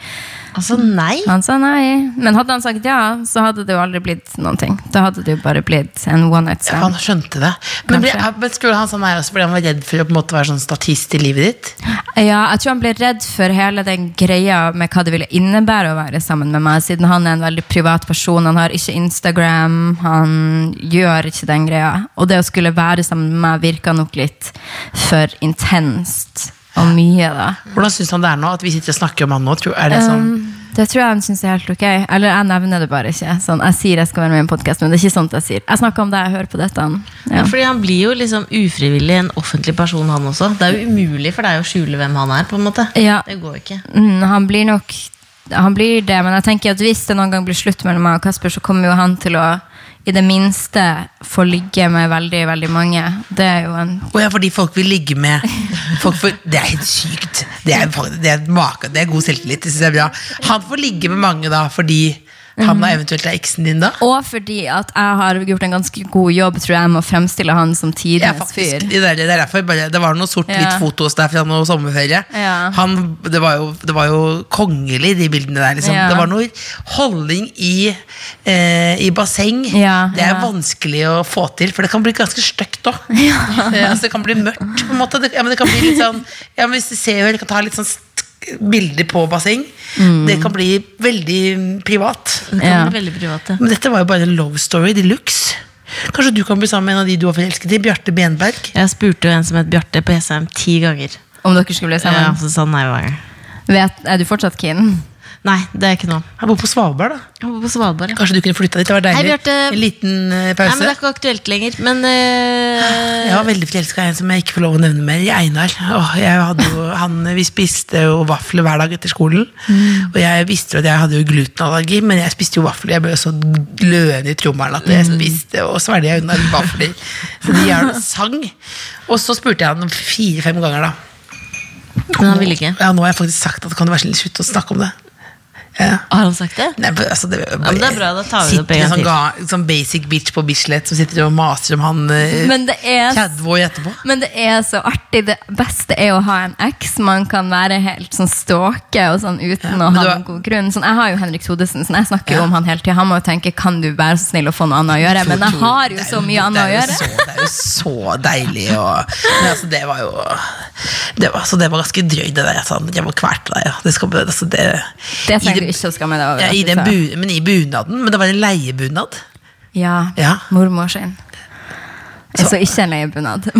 [SPEAKER 3] Altså, nei.
[SPEAKER 5] han sa nei Men hadde han sagt ja, så hadde det jo aldri blitt noen ting Da hadde det jo bare blitt en one night
[SPEAKER 4] Han
[SPEAKER 5] stand
[SPEAKER 4] skjønte det. Men, ble,
[SPEAKER 5] Kanskje.
[SPEAKER 4] men skulle han sånn her også fordi han var redd for å på en måte være sånn statist i livet ditt?
[SPEAKER 5] Ja, jeg tror han ble redd for hele den greia med hva det ville innebære å være sammen med meg, siden han er en veldig privat person. Han har ikke Instagram, han gjør ikke den greia. Og det å skulle være sammen med meg virka nok litt for intenst og mye, da.
[SPEAKER 4] Hvordan syns han det er nå at vi sitter og snakker om han nå? Tror, er
[SPEAKER 5] Um,
[SPEAKER 4] det sånn,
[SPEAKER 5] Det tror jeg han syns er helt ok. Eller jeg nevner det bare ikke. Sånn, jeg sier jeg skal være med i en podkast, men det er ikke sånt jeg sier. Jeg snakker om det jeg hører på dette. Ja.
[SPEAKER 3] Fordi han blir jo liksom ufrivillig en offentlig person, han også. Det er jo umulig for deg å skjule hvem han er, på en måte.
[SPEAKER 5] Ja.
[SPEAKER 3] Det går jo ikke.
[SPEAKER 5] Mm, han blir nok han blir det, men jeg tenker at hvis det noen gang blir slutt mellom meg og Kasper, så kommer jo han til å i det minste få ligge med veldig, veldig mange. Det er jo en
[SPEAKER 4] Å ja, fordi folk vil ligge med folk får, Det er helt sykt. Det er, fak- det er, make, det er god selvtillit. Det synes jeg er bra. Han får ligge med mange da fordi han da eventuelt er eksen din da?
[SPEAKER 5] Og fordi at jeg har gjort en ganske god jobb, tror jeg, med å fremstille han som
[SPEAKER 4] Ja,
[SPEAKER 5] tidenes
[SPEAKER 4] faktisk.
[SPEAKER 5] fyr.
[SPEAKER 4] Det, er, det, er derfor jeg bare, det var noe sort-hvitt
[SPEAKER 5] Ja.
[SPEAKER 4] foto hos deg fra noe sommerferie.
[SPEAKER 5] Ja.
[SPEAKER 4] Han, det, var jo, det var jo kongelig, de bildene der. Liksom.
[SPEAKER 5] Ja.
[SPEAKER 4] Det var noe holdning i, eh, i basseng.
[SPEAKER 5] Ja,
[SPEAKER 4] det er
[SPEAKER 5] ja.
[SPEAKER 4] vanskelig å få til, for det kan bli ganske stygt òg. Eh, altså, det kan bli mørkt, på en måte. Det, ja, men det kan bli litt sånn ja, men Hvis du ser jo, eller kan ta litt sånn st- bilder på basseng,
[SPEAKER 5] Mm.
[SPEAKER 4] det kan bli veldig mm, privat.
[SPEAKER 3] Det kan
[SPEAKER 5] Ja.
[SPEAKER 3] bli veldig privat, ja.
[SPEAKER 4] Men dette var jo bare en love story de luxe. Kanskje du kan bli sammen med en av de du var forelsket i? Bjarte Benberg.
[SPEAKER 3] Jeg spurte jo en som het Bjarte på Jessheim ti ganger.
[SPEAKER 5] Om dere skulle bli
[SPEAKER 3] Ja,
[SPEAKER 5] sammen.
[SPEAKER 3] så sa han sånn, nei hver gang.
[SPEAKER 5] Vet, er du fortsatt keen?
[SPEAKER 3] Nei, det er ikke noe.
[SPEAKER 4] Han bor på Svalbard, da.
[SPEAKER 3] Han bor på Svalbard. ja.
[SPEAKER 4] Kanskje du kunne flytta dit? Det var deilig.
[SPEAKER 3] Hei, Bjarte.
[SPEAKER 4] En liten
[SPEAKER 3] Nei,
[SPEAKER 4] eh,
[SPEAKER 3] men
[SPEAKER 4] pause.
[SPEAKER 3] Det er ikke aktuelt lenger. Men eh,
[SPEAKER 4] jeg var veldig forelska i en som jeg ikke får lov å nevne mer, i Einar. Åh, jeg hadde jo, han, vi spiste jo vafler hver dag etter skolen.
[SPEAKER 3] Mm.
[SPEAKER 4] Og jeg visste jo at jeg hadde jo glutenallergi, men jeg spiste jo vafler. Jeg ble så glødende i trommelen at jeg
[SPEAKER 3] Mm.
[SPEAKER 4] spiste og svelget unna vafler. Så de er sang. Og så spurte jeg han fire-fem ganger, da.
[SPEAKER 3] men han ville ikke.
[SPEAKER 4] Ja, nå har jeg faktisk sagt at kan du være så snill slutte å snakke om det. Ja.
[SPEAKER 3] Har han sagt det?
[SPEAKER 4] Nei, men altså, det,
[SPEAKER 3] men det er bra, da tar vi det opp
[SPEAKER 4] sitter
[SPEAKER 3] en gang til.
[SPEAKER 4] sånn, ga, sånn basic bitch på Bislett som sitter og maser om han eh,
[SPEAKER 5] Men det er
[SPEAKER 4] 30 år etterpå.
[SPEAKER 5] Men det er så artig. Det beste er å ha en eks man kan være helt sånn ståke og sånn uten å
[SPEAKER 4] men
[SPEAKER 5] ha
[SPEAKER 4] du er-
[SPEAKER 5] noen god grunn. Sånn, jeg har jo Henrik Thodesen, sånn, jeg snakker
[SPEAKER 4] Ja.
[SPEAKER 5] jo om han hele tida. Han må jo tenke 'kan du være så snill å få noe annet å gjøre'? Men jeg har jo så mye annet å
[SPEAKER 4] Det er
[SPEAKER 5] gjøre.
[SPEAKER 4] jo så- Det er jo så deilig og men, altså, Det var jo det var, altså, det var ganske drøyt, det der. Altså, jeg må kverte deg, ja. Det skal, altså, det,
[SPEAKER 5] Det
[SPEAKER 4] i
[SPEAKER 5] trenger
[SPEAKER 4] det-
[SPEAKER 5] du ikke å skamme deg over. altså,
[SPEAKER 4] ja,
[SPEAKER 5] at
[SPEAKER 4] i
[SPEAKER 5] du
[SPEAKER 4] den
[SPEAKER 5] sa.
[SPEAKER 4] bu, men i bunaden. Men det var en leiebunad.
[SPEAKER 5] Ja.
[SPEAKER 4] Ja.
[SPEAKER 5] Mormor sin. Så ikke en leiebunad.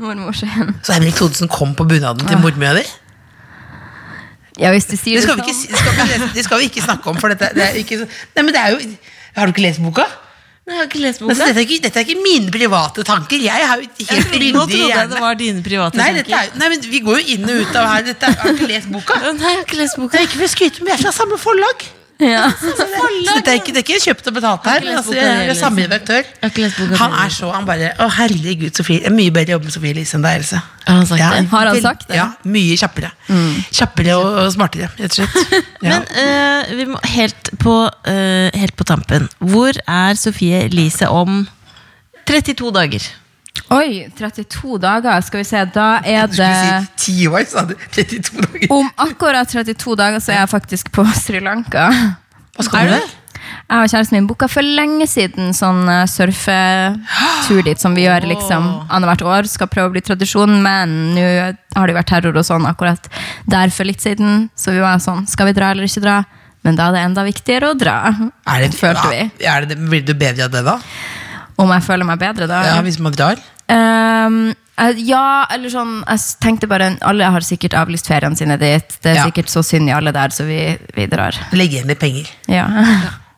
[SPEAKER 5] Mormor sin.
[SPEAKER 4] Så Henrik Thodesen kom på bunaden til mormora di.
[SPEAKER 5] Ja, hvis du sier
[SPEAKER 4] Det
[SPEAKER 5] det
[SPEAKER 4] skal vi ikke,
[SPEAKER 5] sånn.
[SPEAKER 4] si- det skal vi, lese- det skal vi ikke snakke om, for dette det er ikke så- Nei, men det er jo Har du ikke lest boka?
[SPEAKER 3] Nei, jeg har ikke lest
[SPEAKER 4] Men Altså, dette, er ikke, dette er ikke mine private tanker. Jeg har jo et
[SPEAKER 3] Jeg
[SPEAKER 4] helt
[SPEAKER 3] trodde, nå
[SPEAKER 4] ryddig
[SPEAKER 3] trodde jeg det
[SPEAKER 4] hjerne.
[SPEAKER 3] var dine private
[SPEAKER 4] Nei, dette
[SPEAKER 3] tanker.
[SPEAKER 4] er, nei, men vi går jo inn og ut av her. Dette er, har du ikke lest boka?
[SPEAKER 3] Nei, jeg har ikke lest
[SPEAKER 4] Det
[SPEAKER 3] boka.
[SPEAKER 4] er ikke for å skryte, men vi er fra samme forlag.
[SPEAKER 5] Ja.
[SPEAKER 4] Så det, så dette er ikke, det er ikke kjøpt og betalt
[SPEAKER 3] Har
[SPEAKER 4] her.
[SPEAKER 3] ikke
[SPEAKER 4] men
[SPEAKER 3] lest
[SPEAKER 4] Altså,
[SPEAKER 3] boka
[SPEAKER 4] jeg jeg
[SPEAKER 3] heller,
[SPEAKER 4] er samme
[SPEAKER 3] liksom.
[SPEAKER 4] redaktør.
[SPEAKER 3] Jeg har ikke lest boka
[SPEAKER 4] Han
[SPEAKER 3] heller.
[SPEAKER 4] er så Han bare Å, herregud, Sofie. Det er mye bedre å jobbe med Sofie Elise enn deg, Else.
[SPEAKER 3] Har han sagt det? Mm.
[SPEAKER 5] Har han
[SPEAKER 4] vel-
[SPEAKER 5] sagt det?
[SPEAKER 4] Ja. Mye kjappere. Kjappere og, og smartere, rett og slett. Ja.
[SPEAKER 3] Men eh, vi må, helt, på, eh, helt på tampen. Hvor er Sofie Elise om 32 dager?
[SPEAKER 5] Oi, 32 dager. Skal vi se, da er det
[SPEAKER 4] Skulle si ti år, sa du. 32 dager.
[SPEAKER 3] Oh,
[SPEAKER 5] Om akkurat 32 dager så er jeg faktisk på Sri Lanka.
[SPEAKER 4] Hva skal du der?
[SPEAKER 5] Jeg og kjæresten min booka for lenge siden sånn eh, surfetur dit, som vi gjør liksom annethvert år. Skal prøve å bli tradisjon, men nå har det jo vært terror og sånn akkurat der for litt siden. Så vi var sånn, skal vi dra eller ikke dra? Men da er det enda viktigere å dra,
[SPEAKER 4] Er det,
[SPEAKER 5] følte vi.
[SPEAKER 4] Ja, er det, blir du bedre av det, da?
[SPEAKER 5] Om jeg føler meg bedre da.
[SPEAKER 4] Ja, Hvis man drar?
[SPEAKER 5] Ehm, eh, ja, eller sånn Jeg s- tenkte bare, alle har sikkert avlyst feriene sine dit. Det er
[SPEAKER 4] Ja.
[SPEAKER 5] sikkert så synd i alle der, så vi, vi drar.
[SPEAKER 4] Legge igjen litt penger.
[SPEAKER 5] Ja.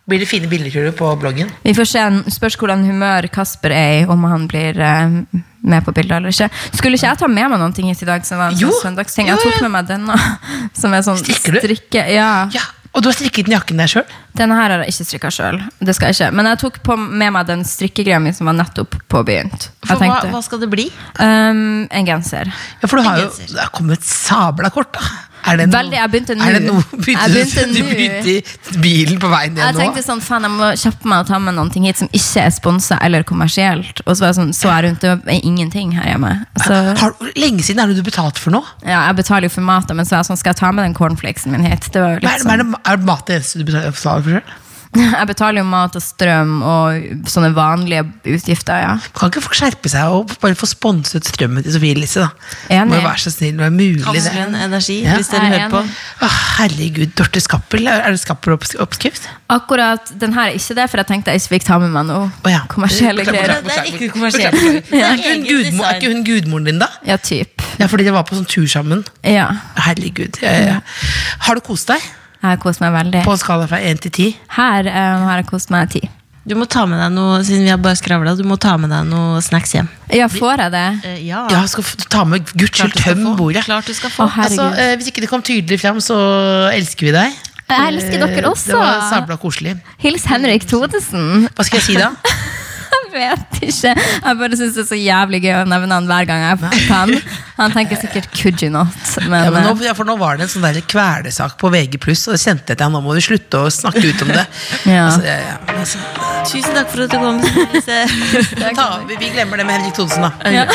[SPEAKER 4] Blir det fine bilder tror du, på bloggen?
[SPEAKER 5] Vi får se, spørs hvordan humør Kasper er i, om han blir eh, med på bildet eller ikke. Skulle ikke jeg ta med meg noen ting hit i dag som var en
[SPEAKER 4] Jo.
[SPEAKER 5] sånn søndagsting? Jeg
[SPEAKER 4] Jo,
[SPEAKER 5] tok
[SPEAKER 4] ja.
[SPEAKER 5] med meg denne, som er sånn
[SPEAKER 4] Strikker du?
[SPEAKER 5] strikke... Ja.
[SPEAKER 4] Ja, Og du har strikket den jakken der sjøl?
[SPEAKER 5] Denne her har jeg ikke strikka sjøl. Men jeg tok på, med meg den strikkegreia mi som var nettopp påbegynt. Jeg
[SPEAKER 3] For hva,
[SPEAKER 5] tenkte,
[SPEAKER 3] hva skal det bli?
[SPEAKER 5] ehm, en genser.
[SPEAKER 4] Ja, for du har jo
[SPEAKER 3] Genser.
[SPEAKER 4] det har kommet sabla kort, da. Er det noe,
[SPEAKER 5] Veldig, jeg begynte
[SPEAKER 4] Er det
[SPEAKER 5] nå.
[SPEAKER 4] noe
[SPEAKER 5] Jeg
[SPEAKER 4] begynte
[SPEAKER 5] begynte
[SPEAKER 4] du, du
[SPEAKER 5] nå.
[SPEAKER 4] begynte i bilen på veien
[SPEAKER 5] Jeg
[SPEAKER 4] ned nå?
[SPEAKER 5] tenkte sånn, faen, jeg må kjappe meg og ta med noen ting hit som ikke er sponsa eller kommersielt. Og så var jeg sånn, så er rundt, det er ingenting her hjemme. Så,
[SPEAKER 4] Har, hvor lenge siden er det du betalte for noe?
[SPEAKER 5] ja, jeg betaler jo for maten, men så er jeg sånn, skal jeg ta med den cornflakesen min hit? Det var jo
[SPEAKER 4] Hva er,
[SPEAKER 5] litt
[SPEAKER 4] hva er,
[SPEAKER 5] sånn.
[SPEAKER 4] det, er mat det eneste du betaler for selv?
[SPEAKER 5] Jeg betaler jo mat og strøm og sånne vanlige utgifter, ja.
[SPEAKER 4] Kan ikke folk skjerpe seg og bare få sponset strømmen til Sofie Elise, da?
[SPEAKER 5] Enig.
[SPEAKER 4] Må jo være så snill, det er mulig det.
[SPEAKER 3] Kanskje en energi,
[SPEAKER 4] Ja.
[SPEAKER 3] hvis dere
[SPEAKER 5] Jeg er
[SPEAKER 3] hører på.
[SPEAKER 5] enig.
[SPEAKER 4] Å, herregud, Dorte Skappel, er det Skappel-oppskrift?
[SPEAKER 5] Akkurat den her er ikke det, for jeg tenkte jeg ikke fikk ta med meg noe
[SPEAKER 4] Å ja.
[SPEAKER 5] kommersielle
[SPEAKER 4] Beklager,
[SPEAKER 5] greier.
[SPEAKER 4] beklager,
[SPEAKER 3] Det er ikke
[SPEAKER 4] beklager.
[SPEAKER 3] kommersielt.
[SPEAKER 4] Beklager.
[SPEAKER 3] Det er
[SPEAKER 4] Er ikke hun
[SPEAKER 3] eget
[SPEAKER 4] gudmo-
[SPEAKER 3] design.
[SPEAKER 4] er ikke hun gudmoren din, da?
[SPEAKER 5] Ja, typ.
[SPEAKER 4] Ja, fordi dere var på sånn tur sammen.
[SPEAKER 5] Ja.
[SPEAKER 4] Herregud. Ja, ja. Har du kost deg?
[SPEAKER 5] Jeg har kost meg veldig.
[SPEAKER 4] På en skala fra én til ti?
[SPEAKER 5] Her eh, har jeg kost meg ti.
[SPEAKER 3] Du må ta med deg noe, siden vi har bare skravlet, du må ta med deg noe snacks hjem.
[SPEAKER 5] Ja, får jeg det?
[SPEAKER 3] Eh, ja.
[SPEAKER 4] Ja, skal f- ta med guds skyld, tøm bordet.
[SPEAKER 3] Klart du skal
[SPEAKER 5] Å,
[SPEAKER 3] få.
[SPEAKER 4] Altså,
[SPEAKER 5] herregud.
[SPEAKER 4] eh, hvis ikke det kom tydelig fram, så elsker vi deg. Eh,
[SPEAKER 5] Jeg elsker dere
[SPEAKER 4] Det var
[SPEAKER 5] også.
[SPEAKER 4] sabla koselig.
[SPEAKER 5] Hils Henrik Thodesen.
[SPEAKER 4] Hva skal jeg si da?
[SPEAKER 5] Jeg vet ikke. Jeg bare syns det er så jævlig gøy å nevne han hver gang jeg kan. Han tenker sikkert 'could you not', men,
[SPEAKER 4] Ja, men nå,
[SPEAKER 5] eh,
[SPEAKER 4] ja, for nå var det en sånn der kvelesak på VG+, og da kjente jeg til han, nå må du slutte å snakke ut om det.
[SPEAKER 5] Ja.
[SPEAKER 4] Altså, ja, ja, altså,
[SPEAKER 3] Tusen takk for at du kom. Sofie Elise.
[SPEAKER 4] ta, vi, vi glemmer det med Henrik Thonsen, da.
[SPEAKER 5] Ja.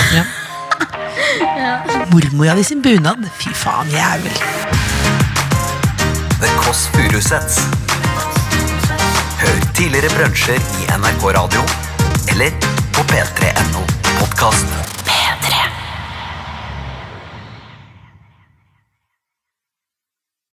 [SPEAKER 4] Ja. Mormora di sin bunad. Fy faen, jævel.
[SPEAKER 2] The Kåss Furuseths. Hør tidligere brunsjer i NRK Radio eller på p3.no podkast.